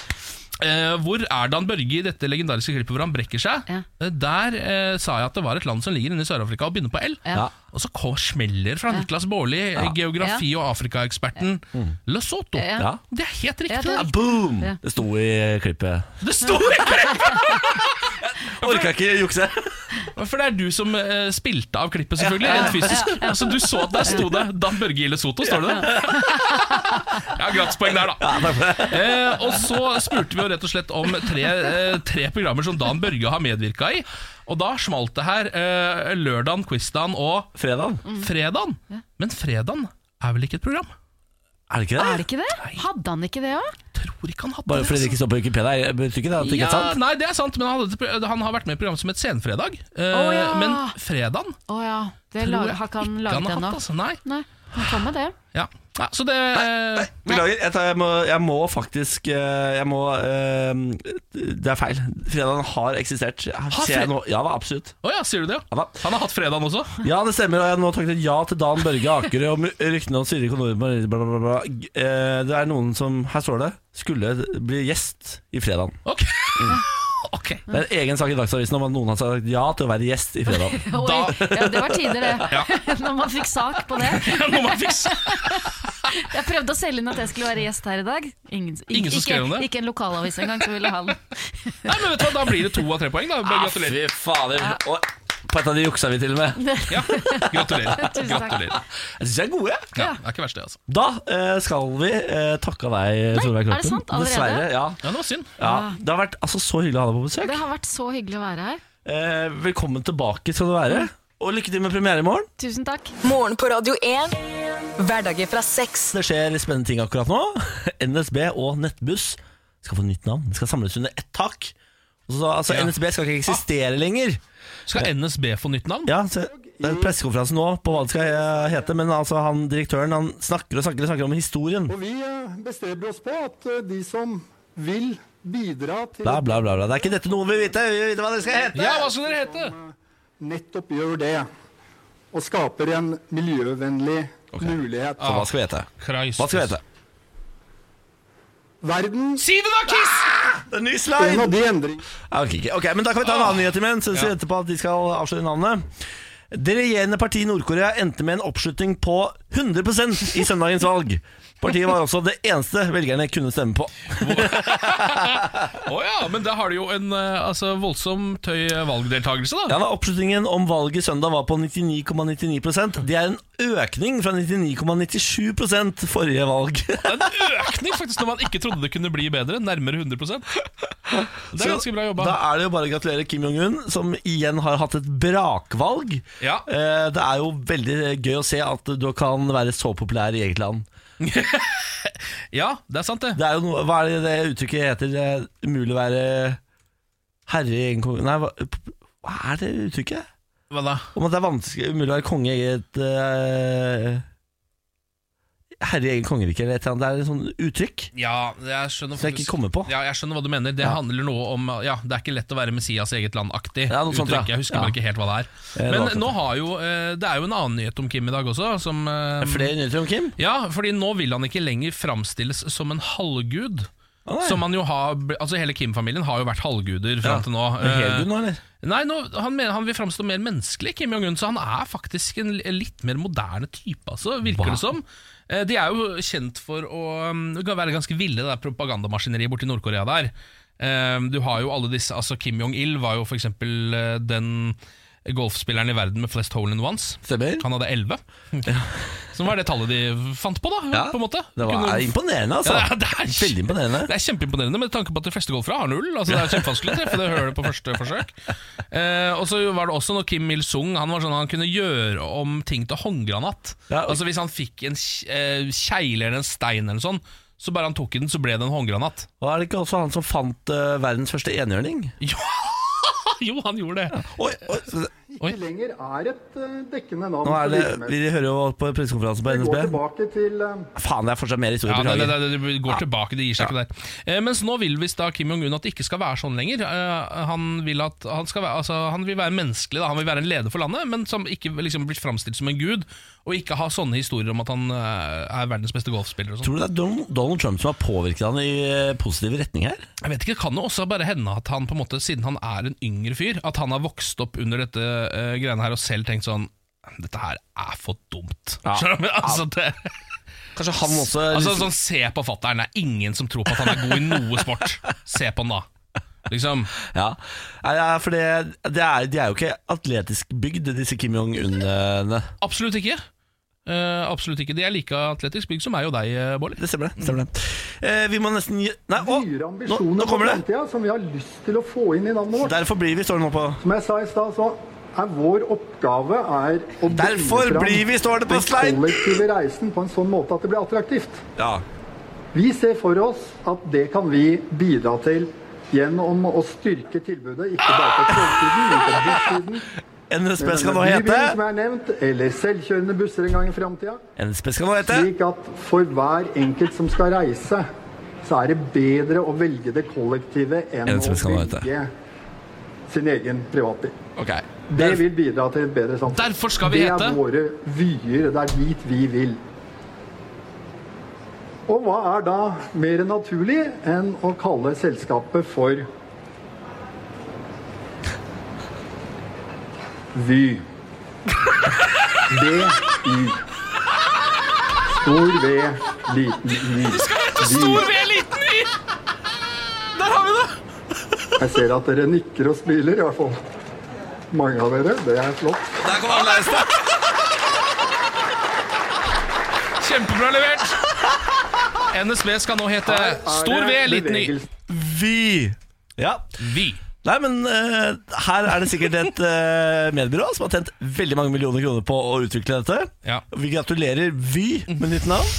Eh, hvor er Dan Børge i dette legendariske klippet hvor han brekker seg?
Ja.
Eh, Der eh, sa jeg at det var et land som ligger inne i Sør-Afrika og begynner på L.
Ja.
Og så kom smeller fra Niklas Baarli, eh, geografi- og Afrikaeksperten
Mm.
Lesotho.
Ja.
Ja.
Det er helt
Ja,
riktig! Eh, det,
det er
Ja, boom!
Ja.
Det sto i klippet.
det står ikke!
Orka ikke jukse.
For det er du som eh, spilte av klippet, selvfølgelig, rent fysisk. Så du så at der sto det Dan Børge i Lesotho, står det der. Ja, gratispoeng der, da. Eh, og så spurte vi jo rett og slett om tre, eh, tre programmer som Dan Børge har medvirka i. Og da smalt det her. Eh, lørdagen, quizdagen og
Mm.
Fredag.
fredagen. Men fredagen er vel ikke et program?
Er det ikke det?
Er det ikke det? Hadde han ikke det òg?
Tror ikke han hadde
Bare fordi det
altså.
ikke står på Wikipedia, betyr ikke det at det ikke er sant?
Nei, det er sant, men han, hadde, et pro- han har vært med i et program som het Senfredag. Eh,
Å, ja.
Men fredagen
Å ja. Det
tror
lag,
jeg
har ikke han
ikke han
laget
har
ennå.
hatt. Altså. Nei.
Nei, han kom med det.
Ja. Ja, så det eh,
Beklager, jeg, tar, jeg, må, jeg må faktisk eh, Jeg må eh, Det er feil. Fredagen har eksistert. Ser
fred-
jeg nå? Ja da, absolutt.
Å ja, sier du det?
Ja,
Ja.
da.
Han har hatt fredagen også?
Ja, det stemmer. Og jeg har nå takket ja til Dan Børge Akerø om ryktene om Siri Konor bla, bla, bla, bla. G- eh, Det er noen som Her står det skulle bli gjest i fredagen.
Ok. Ok.
Det er en egen sak i Dagsavisen om at noen har sagt ja til å være gjest i fredagen.
Oi, ja, det var tider, det. Når man fikk sak på det.
Nå må jeg fikse.
Jeg prøvde å selge inn at jeg skulle være gjest her i dag. Ingen,
Ingen som
ikke,
skrev om det?
ikke en lokalavis engang som ville ha den.
Nei, men vet du hva, Da blir det to av tre poeng. da Bare Gratulerer.
fy fader. Og på et av de juksa vi til og med.
Ja, gratulerer.
Tusen takk.
gratulerer.
Jeg syns de er gode. jeg.
Ja, det er ikke verst, det. altså
Da eh, skal vi eh, takke av deg, Solveig
er
Kloppen.
det sant? Allerede?
Dessverre. Ja.
Ja, Det var synd.
Ja, Det har vært altså, så hyggelig å ha deg på besøk.
Ah. Det har vært så hyggelig å være her.
Eh, velkommen tilbake skal du være. Og lykke til med premiere i morgen.
Tusen takk.
Morgen på Radio 1. Hverdager fra seks.
Det skjer spennende ting akkurat nå. NSB og Nettbuss skal få nytt navn. De skal samles under ett tak. Og Så, altså,
Ja.
NSB skal ikke eksistere lenger.
Skal NSB få nytt navn?
Ja, så det er en pressekonferanse nå på hva det skal eh, hete, men altså, han, direktøren han snakker og snakker og snakker om historien.
Og vi eh, bestreber oss på at eh, de som vil bidra til
Bla, bla, bla. bla. Det er ikke dette noe vi vil vite. Vi vil vite hva det skal hete.
Ja, hva skal dere hete?
nettopp gjør det, og skaper en miljøvennlig mulighet.
Så hva skal vi hete?
Christ.
Hva skal vi hete?
Verden,
Si det, da, Kiss!
Det er en ny
en
slide!
av de endringene
Jeg orker ikke. Ok, men Da kan vi ta en annen nyhet imens. Så vi venter på at de skal avsløre navnet. Det regjerende partiet i Nord-Korea endte med en oppslutning på 100 i søndagens valg. Partiet var også det eneste velgerne kunne stemme på.
Å ja, men da har de jo en eh, altså, voldsom tøy valgdeltakelse, da.
Ja, da, Oppslutningen om valget søndag var på 99,99 Det er en økning fra 99,97 forrige valg.
Det er en økning, faktisk, når man ikke trodde det kunne bli bedre. Nærmere 100 Det er ganske bra jobba.
Da er det jo bare å gratulere Kim Jong-un, som igjen har hatt et brakvalg.
Ja.
Eh, Det er jo veldig gøy å se at du kan være så populær i eget land.
Ja, det er sant, det.
Det er jo noe, hva er det det uttrykket heter? Det er umulig å være herre i egen konge Nei, hva, hva er det uttrykket?
Hva da?
Om at det er vanskelig, umulig å være konge i et eh, Herre i egen kongerike eller et eller annet. Det er et sånt uttrykk
Ja, jeg skjønner
som jeg ikke kommer på.
Ja, jeg skjønner hva du mener. Det
Ja.
handler noe om Ja, det er ikke lett å være Messias i eget land-aktig.
Ja, noe sånt,
uttrykk.
ja.
Jeg husker
Ja.
bare ikke helt hva det er.
det
Men
var sant,
nå
ja.
har jo eh, Det er jo en annen nyhet om Kim i dag også, som eh,
Flere nyheter om Kim?
Ja, fordi nå vil han ikke lenger framstilles som en halvgud.
Å, nei.
Som han jo har, altså Hele Kim-familien har jo vært halvguder
Ja.
fram til nå.
Er det Helgud nå, eller?
Eh, Nei, nå, han, mener, han vil framstå mer menneskelig, Kim Jong-un, så han er faktisk en li- litt mer moderne type, altså, virker
Wow.
det som. Eh, De er jo kjent for å um, være ganske ville, det der propagandamaskineriet borti Nord-Korea der. Eh, Du har jo alle disse altså Kim Jong-il var jo f.eks. den golfspilleren i verden med flest hole in ones.
Stemmer.
Han hadde 11 Som var det tallet de fant på da
Ja.
På en måte
Det var,
Kunne-
er imponerende, altså.
Ja, det er-
Veldig imponerende.
det er kjempeimponerende med tanke på at de fleste golfere har null. Altså Det er kjempevanskelig å treffe det hølet på første forsøk. Eh, og så var det også når Kim Il-sung Han var sånn han kunne gjøre om ting til håndgranat.
Ja, og-
Altså Hvis han fikk en kj- eh, kjegle eller en stein, eller sånn så bare han tok i den, så ble det en håndgranat.
Og er det ikke også han som fant eh, verdens første enhjørning?
Jo, jo han gjorde det!
Oi, oi,
Oi.
ikke lenger er et eh, dekkende navn
nå er
for
det,
virksomheten.
vi hører jo på pressekonferansen på
Vi
NSB.
går tilbake til eh,
Faen, det er fortsatt mer historie.
Ja, det,
beklager.
det, det, det går tilbake, det gir seg ikke der. Eh, mens nå vil visst da Kim Jong-un at det ikke skal være sånn lenger. Eh, han, vil at, han, skal være, altså, han vil være menneskelig, da. han vil være en leder for landet, men som ikke liksom blir framstilt som en gud, og ikke ha sånne historier om at han eh, er verdens beste golfspiller og sånn.
Tror du det er Don- Donald Trump som har påvirket han i eh, positiv retning her?
Jeg vet ikke, Det kan jo også bare hende at han, på en måte, siden han er en yngre fyr, at han har vokst opp under dette eh, greiene her og selv tenkt sånn dette her er for dumt.
Ja.
Skjønner du? Men Altså, det,
Kanskje han også
altså,
liksom-
sånn, se på fatter'n. Det er ingen som tror på at han er god i noe sport. Se på han, da. Liksom.
ja. Nei, ja, for det, det er, De er jo ikke atletisk bygd, disse Kim Jong-un-ene.
Absolutt ikke. Eh, absolutt ikke. De er like atletisk bygd som meg og deg, eh, Bård.
Det stemmer, det. stemmer det eh, Vi må nesten gi- Nei, å,
dyre
nå,
ambisjoner
nå
for
kommer det!
fremtiden som vi har lyst til å få inn i navnet vårt.
Derfor blir vi, står det nå på
Som jeg sa i stad, så er vår oppgave er å bringe
Derfor
fram
blir vi, står det på
den
slide.
kollektive reisen på en sånn måte at det blir attraktivt.
Ja.
Vi ser for oss at det kan vi bidra til gjennom å styrke tilbudet, ikke bare på togsiden, men på bussiden.
NSB skal nå
Denne bybilen som
hete
er nevnt, eller selvkjørende busser en gang i framtida.
NSB skal nå hete
Slik at for hver enkelt som skal reise, så er det bedre å velge det kollektive enn
En
å
som skal ha dette.
velge sin egen privatbil.
Ok
Det vil bidra til et bedre samfunn.
Derfor skal vi
Det
hete-
er våre vyer. Det er dit vi vil. Og hva er da mer naturlig enn å kalle selskapet for Vy. V-Y. Stor V, liten Y.
Stor V, liten Y! Der har vi det!
Jeg ser at dere nikker og smiler, i hvert fall. Mange av dere. Det er flott.
Der kom han leiste!
Kjempebra levert! NSB skal nå hete
Her er
Stor V,
det
liten Y.
bevegelse.
Vi. Ja.
Vy.
Nei, men eh, her er det sikkert et eh, mediebyrå som har tjent veldig mange millioner kroner på å utvikle dette.
Ja.
Vi gratulerer Vy med nytt navn.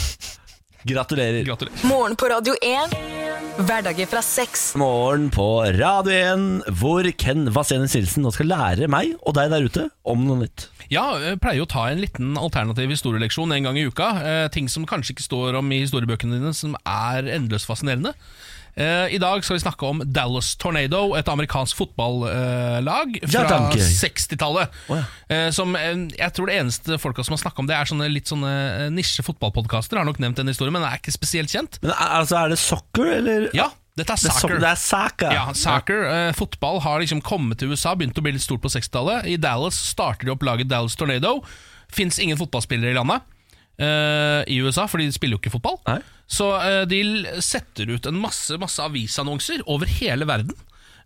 Gratulerer.
Gratulerer.
Morgen på Radio 1. Hverdager fra seks.
Morgen på Radio 1, hvor Ken Vasenius Nilsen nå skal lære meg og deg der ute om noe nytt.
Ja, jeg pleier å ta en liten alternativ historieleksjon en gang i uka. Eh, ting som kanskje ikke står om i historiebøkene dine, som er endeløst fascinerende. Eh, I dag skal vi snakke om Dallas Tornado, et amerikansk fotballag
Ja,
fra
danke.
60-tallet.
Å,
eh, som eh, jeg tror det eneste folka som har snakka om det, er sånne litt sånne eh, nisje fotballpodkaster. Har nok nevnt den historien, men den er ikke spesielt kjent.
Men er- altså, er det soccer, eller?
Ja, dette
Det er,
er soccer.
soccer. Det er soccer.
Ja, soccer, eh, fotball har liksom kommet til USA, begynt å bli litt stort på 60-tallet. I Dallas starter de opp laget Dallas Tornado. Fins ingen fotballspillere i landet eh, i USA, for de spiller jo ikke fotball.
Nei.
Så eh, de l- setter ut en masse, masse avisannonser over hele verden,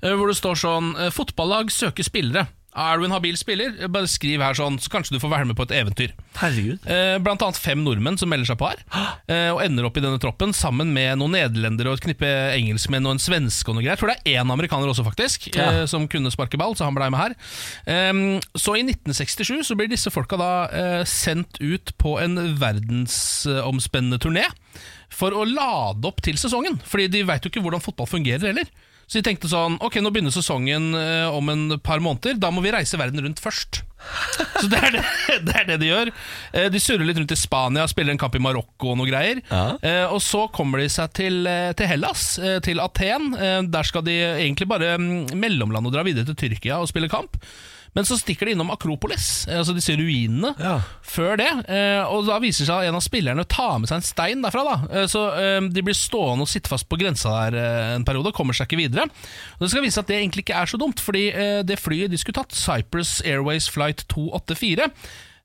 eh, hvor det står sånn eh, 'Fotballag søker spillere'. Er du en habil spiller, eh, bare skriv her sånn, så kanskje du får være med på et eventyr.
Herregud.
Eh, Blant annet fem nordmenn som melder seg på her, eh, og ender opp i denne troppen sammen med noen nederlendere og et knippe engelskmenn og en svenske og noe greier. Jeg tror det er én amerikaner også, faktisk,
Ja.
eh, som kunne sparke ball, så han blei med her. Ehm, Så i 1967 så blir disse folka da eh, sendt ut på en verdensomspennende turné for å lade opp til sesongen, fordi de veit jo ikke hvordan fotball fungerer heller. Så de tenkte sånn Ok, nå begynner sesongen eh, om en par måneder. Da må vi reise verden rundt først. Så det er det, det er det de gjør. Eh, De surrer litt rundt i Spania, spiller en kamp i Marokko og noe greier.
Ja.
Eh, Og så kommer de seg til, eh, til Hellas, eh, til Aten. Eh, Der skal de egentlig bare mm, mellomlande og dra videre til Tyrkia og spille kamp. Men så stikker de innom Akropolis, eh, altså disse ruinene,
Ja.
før det. eh, Og da viser det seg at en av spillerne tar med seg en stein derfra. da Eh, Så eh, de blir stående og sitte fast på grensa der eh, en periode og kommer seg ikke videre. Og Det skal vise seg at det egentlig ikke er så dumt, fordi eh, det flyet de skulle tatt, Cyprus Airways Flight 284,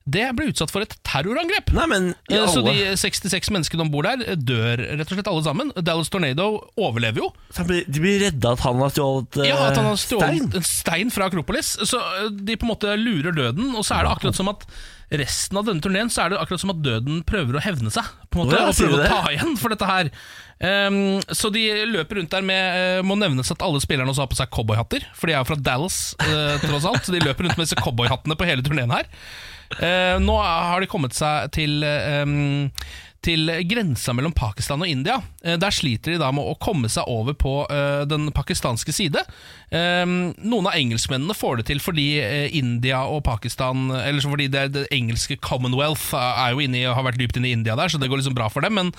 det ble utsatt for et terrorangrep.
Nei, men i
Eh, Så
alle
de 66 menneskene om bord der eh, dør rett og slett alle sammen. Dallas Tornado overlever jo.
Så han blir- De blir redda at han har stjålet eh,
Ja, at han har
stein.
stjålet en stein fra Akropolis. Så eh, de på en måte lurer døden, og så er det akkurat som at resten av denne turneen så er det akkurat som at døden prøver å hevne seg. På en
Å
måte,
ja,
og
sier du
prøver å
det?
ta igjen for dette her. Ehm, så de løper rundt der med eh, Må nevnes at alle spillerne også har på seg cowboyhatter, for de er jo fra Dallas, eh, tross alt. Så de løper rundt med disse cowboyhattene på hele turneen her. Eh, nå har de kommet seg til ehm, til grensa mellom Pakistan og India. Eh, Der sliter de da med å komme seg over på eh, den pakistanske side. Eh, Noen av engelskmennene får det til fordi eh, India og Pakistan Eller så fordi det, det engelske Commonwealth eh, er er jo inne i, har vært dypt inne i India der, så det går liksom bra for dem. men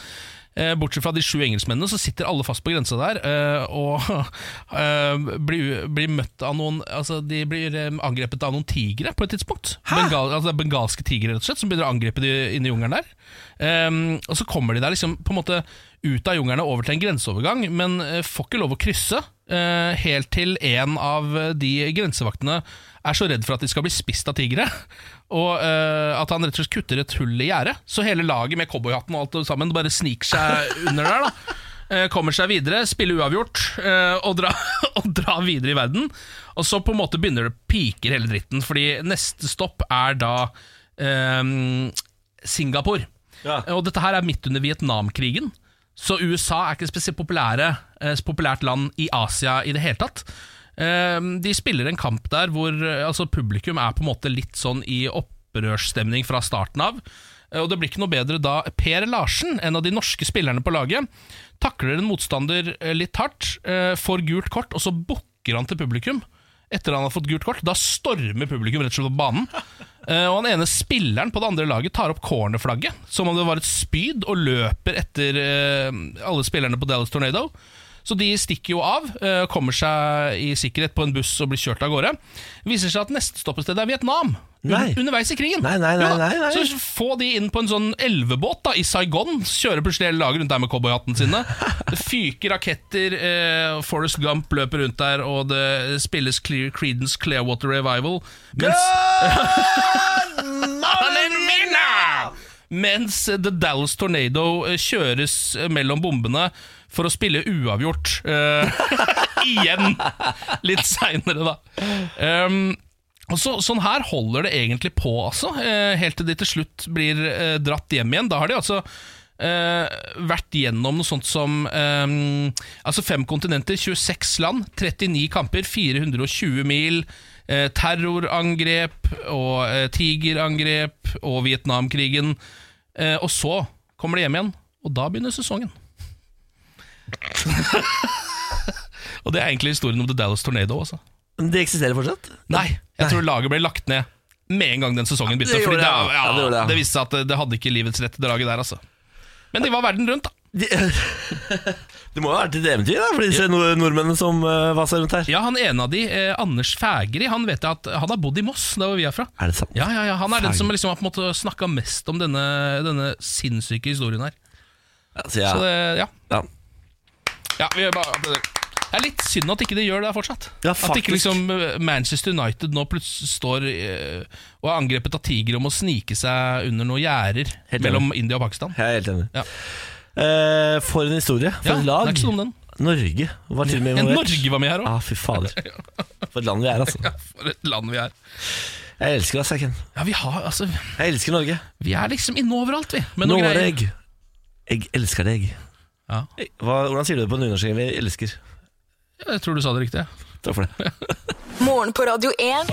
eh, Bortsett fra de sju engelskmennene, så sitter alle fast på grensa der. eh, Og eh, blir, blir møtt av noen Altså, de blir eh, angrepet av noen tigre på et tidspunkt. Bengal, altså det er bengalske tigre, rett og slett, som begynner å angripe de inne i jungelen der. Ehm, og så kommer de der liksom på en måte ut av jungelen og over til en grenseovergang, men eh, får ikke lov å krysse. eh, helt til en av eh, de grensevaktene er så redd for at de skal bli spist av tigre, og eh, at han rett og slett kutter et hull i gjerdet. Så hele laget med cowboyhatten og alt det sammen bare sniker seg under der. da Eh, Kommer seg videre, spiller uavgjort eh, og drar dra videre i verden. Og så på en måte begynner det å piker hele dritten, fordi neste stopp er da eh, Singapore.
Ja.
Og dette her er midt under Vietnamkrigen. Så USA er ikke spesielt populære, eh, populært land i Asia i det hele tatt. Eh,
Eh, De spiller en kamp der hvor eh, altså, publikum er på en måte litt sånn i opprørsstemning fra starten av. Eh, Og det blir ikke noe bedre da Per Larsen, en av de norske spillerne på laget, takler en motstander eh, litt hardt, eh, får gult kort, og så bukker han til publikum. Etter han har fått gult kort, da stormer publikum rett og slett på banen. Eh, Og han ene spilleren på det andre laget tar opp cornerflagget, som om det var et spyd, og løper etter eh, alle spillerne på Dallas Tornado. Så de stikker jo av, eh, kommer seg i sikkerhet på en buss og blir kjørt av gårde. Viser seg at neste stoppested er Vietnam. Un
Nei.
underveis i krigen.
Nei, nei, nei,
Jo da,
nei, nei.
Så få de inn på en sånn elvebåt da, i Saigon. Kjører plutselig hele laget rundt der med cowboyhattene sine. Det fyker raketter. Eh, Forest Gump løper rundt der, og det spilles Clear Creedence Clearwater Revival. Mens, mens The Dallas Tornado eh, kjøres eh, mellom bombene for å spille uavgjort. Eh, igjen! Litt seinere, da. Um, og så, sånn her holder det egentlig på, altså. Eh, helt til de til slutt blir eh, dratt hjem igjen. Da har de altså eh, vært gjennom noe sånt som eh, Altså fem kontinenter, 26 land, 39 kamper, 420 mil. Eh, terrorangrep og eh, tigerangrep og Vietnamkrigen. Eh, og så kommer de hjem igjen, og da begynner sesongen. og det er egentlig historien om The Dallas Tornado, altså.
Men det eksisterer fortsatt?
Nei, jeg tror laget ble lagt ned med en gang den sesongen begynte.
det
fordi
gjorde
det,
det, ja.
ja,
Ja, det gjorde det, ja.
det viste seg at det- det hadde ikke livets rett, det laget der, altså. Men de var verden rundt, da.
De, det må jo ha vært et eventyr da, for disse nord nordmennene som uh, vaser rundt her.
Ja, han ene av de, eh, Anders Fægeri, han vet jeg at han har bodd i Moss, der hvor vi er fra.
Er det sant?
Ja, ja, ja, Han er den som liksom har på en måte snakka mest om denne, denne sinnssyke historien her.
Altså, ja.
Så det, ja.
ja.
ja vi gjør bare det er litt synd at ikke de gjør det fortsatt.
Ja,
at
faktisk.
ikke liksom eh, Manchester United nå plutselig står eh, og er angrepet av tigre om å snike seg under noen gjerder
Helt enig.
mellom India og Pakistan.
Jeg er helt enig.
Ja.
Eh, for en historie. For
Ja,
et
det
lag.
er ikke sånn om den.
Norge var til og med
Ja,
involvert.
Norge var med her
Ja,
òg.
fy fader. For et land vi er, altså.
For et land vi er.
Jeg elsker oss, Ken.
Ja, vi har altså
Jeg elsker Norge.
Vi er liksom inne overalt, vi. Med noen greier.
Noreg. Jeg elsker deg.
Ja.
Hva, hvordan sier du det på nynorsk? egentlig? Jeg elsker.
Jeg tror du sa det riktig.
Takk for det.
Morgen på Radio 1.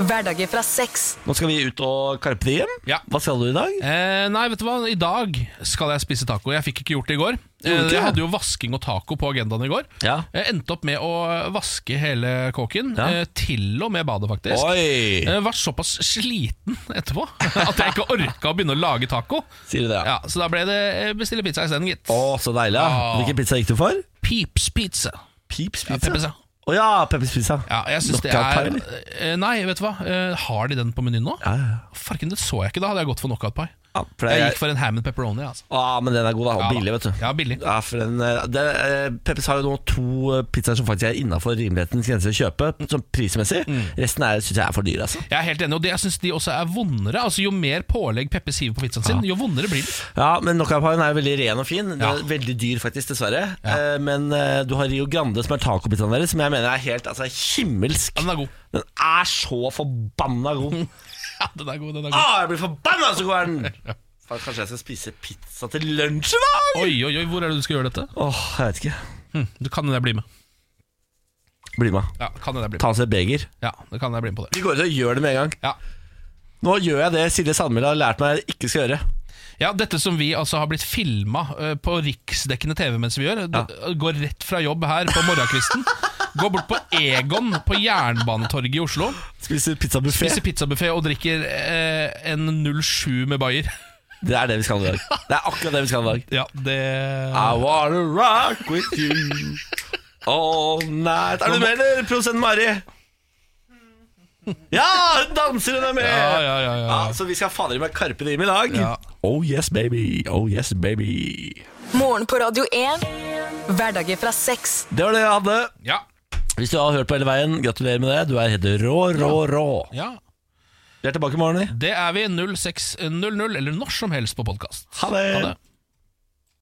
Hverdager fra seks.
Nå skal vi ut og karpe det hjem.
Ja.
Hva skal du i dag?
Eh, nei, vet du hva. I dag skal jeg spise taco. Jeg fikk ikke gjort det i går. Eh,
ikke det?
jeg hadde jo vasking og taco på agendaen i går.
Ja.
Jeg endte opp med å vaske hele kåken.
Ja.
Eh, til og med badet, faktisk.
Oi!
Jeg var såpass sliten etterpå at jeg ikke orka å begynne å lage taco.
Sier du det, ja?
Ja, Så da ble det eh, bestille pizza isteden, gitt.
Å, så deilig. Ja.
Ja.
Hvilken pizza gikk du for?
Peeps pizza.
Peeps
Ja,
pizza.
Ah. pizza.
Å ja, Peppers pizza.
Ja, jeg synes det
Knockout
er
pie,
Eh, Nei, vet du hva? Eh, Har de den på menyen nå?
Ja, ja, ja.
Farken, det så jeg ikke. Da hadde jeg gått for knockout pie.
Ja, for
Jeg
jeg,
gikk for en ham and pepperoni. Altså.
Å, men den er god, da. Og
Ja, da.
billig, vet du.
Ja, billig.
Ja, for den, eh, det, eh, Peppers har jo nå to eh, pizzaer som faktisk er innafor rimelighetens grense å kjøpe, sånn prismessig.
Mm.
Resten er- syns jeg er for dyr, altså.
Jeg er helt enig, og det, jeg syns de også er vondere. Altså, jo mer pålegg Peppe siver på pizzaen sin, jo vondere blir den.
Ja, men Knockout-paien er jo veldig ren og fin. Den
Ja.
er Veldig dyr, faktisk, dessverre. Eh, Men eh, du har Rio Grande, som er tacopizzaen deres, som jeg mener er helt altså, himmelsk.
Ja, den er god.
Den er så forbanna god.
Ja, den er god, den er god.
ah, jeg blir forbanna så god er den! Faen, Kanskje jeg skal spise pizza til lunsj i dag?
Oi, oi, oi, hvor er det du skal gjøre dette?
Åh, jeg vet ikke.
Hm, du kan hende jeg blir med.
Bli med.
Ja, kan hende jeg blir med.
Ta oss et beger.
Ja, det kan jeg bli med på det.
Vi går ut og gjør det med en gang.
Ja.
Nå gjør jeg det Silje Sandmæl har lært meg jeg ikke skal gjøre.
ja, dette som vi altså har blitt filma på riksdekkende TV mens vi gjør. det- Går rett fra jobb her på morgenkvisten. Går bort på Egon på Jernbanetorget i Oslo.
Spise pizzabuffé.
Spiser pizzabuffé og drikker eh, en 07 med Bayer.
Det er det vi skal i dag. Det er akkurat det vi skal i dag.
Ja, det
I wanna rock with you all night. Er du med, eller, prosent Mari? Ja, hun danser, hun er med!
Ja, ja, ja, ja.
Ja, så vi skal fader i meg Carpe Diem i dag.
Ja.
Oh yes, baby. Oh yes, baby.
Morgen på Radio 1. Hverdager fra seks.
Det var det jeg hadde.
ja.
Hvis du har hørt på hele veien, gratulerer med det. Du er helt rå, rå, rå.
ja.
Vi er tilbake i morgen. vi.
Det er vi 06.00, eller når som helst på podkast.
Ha det.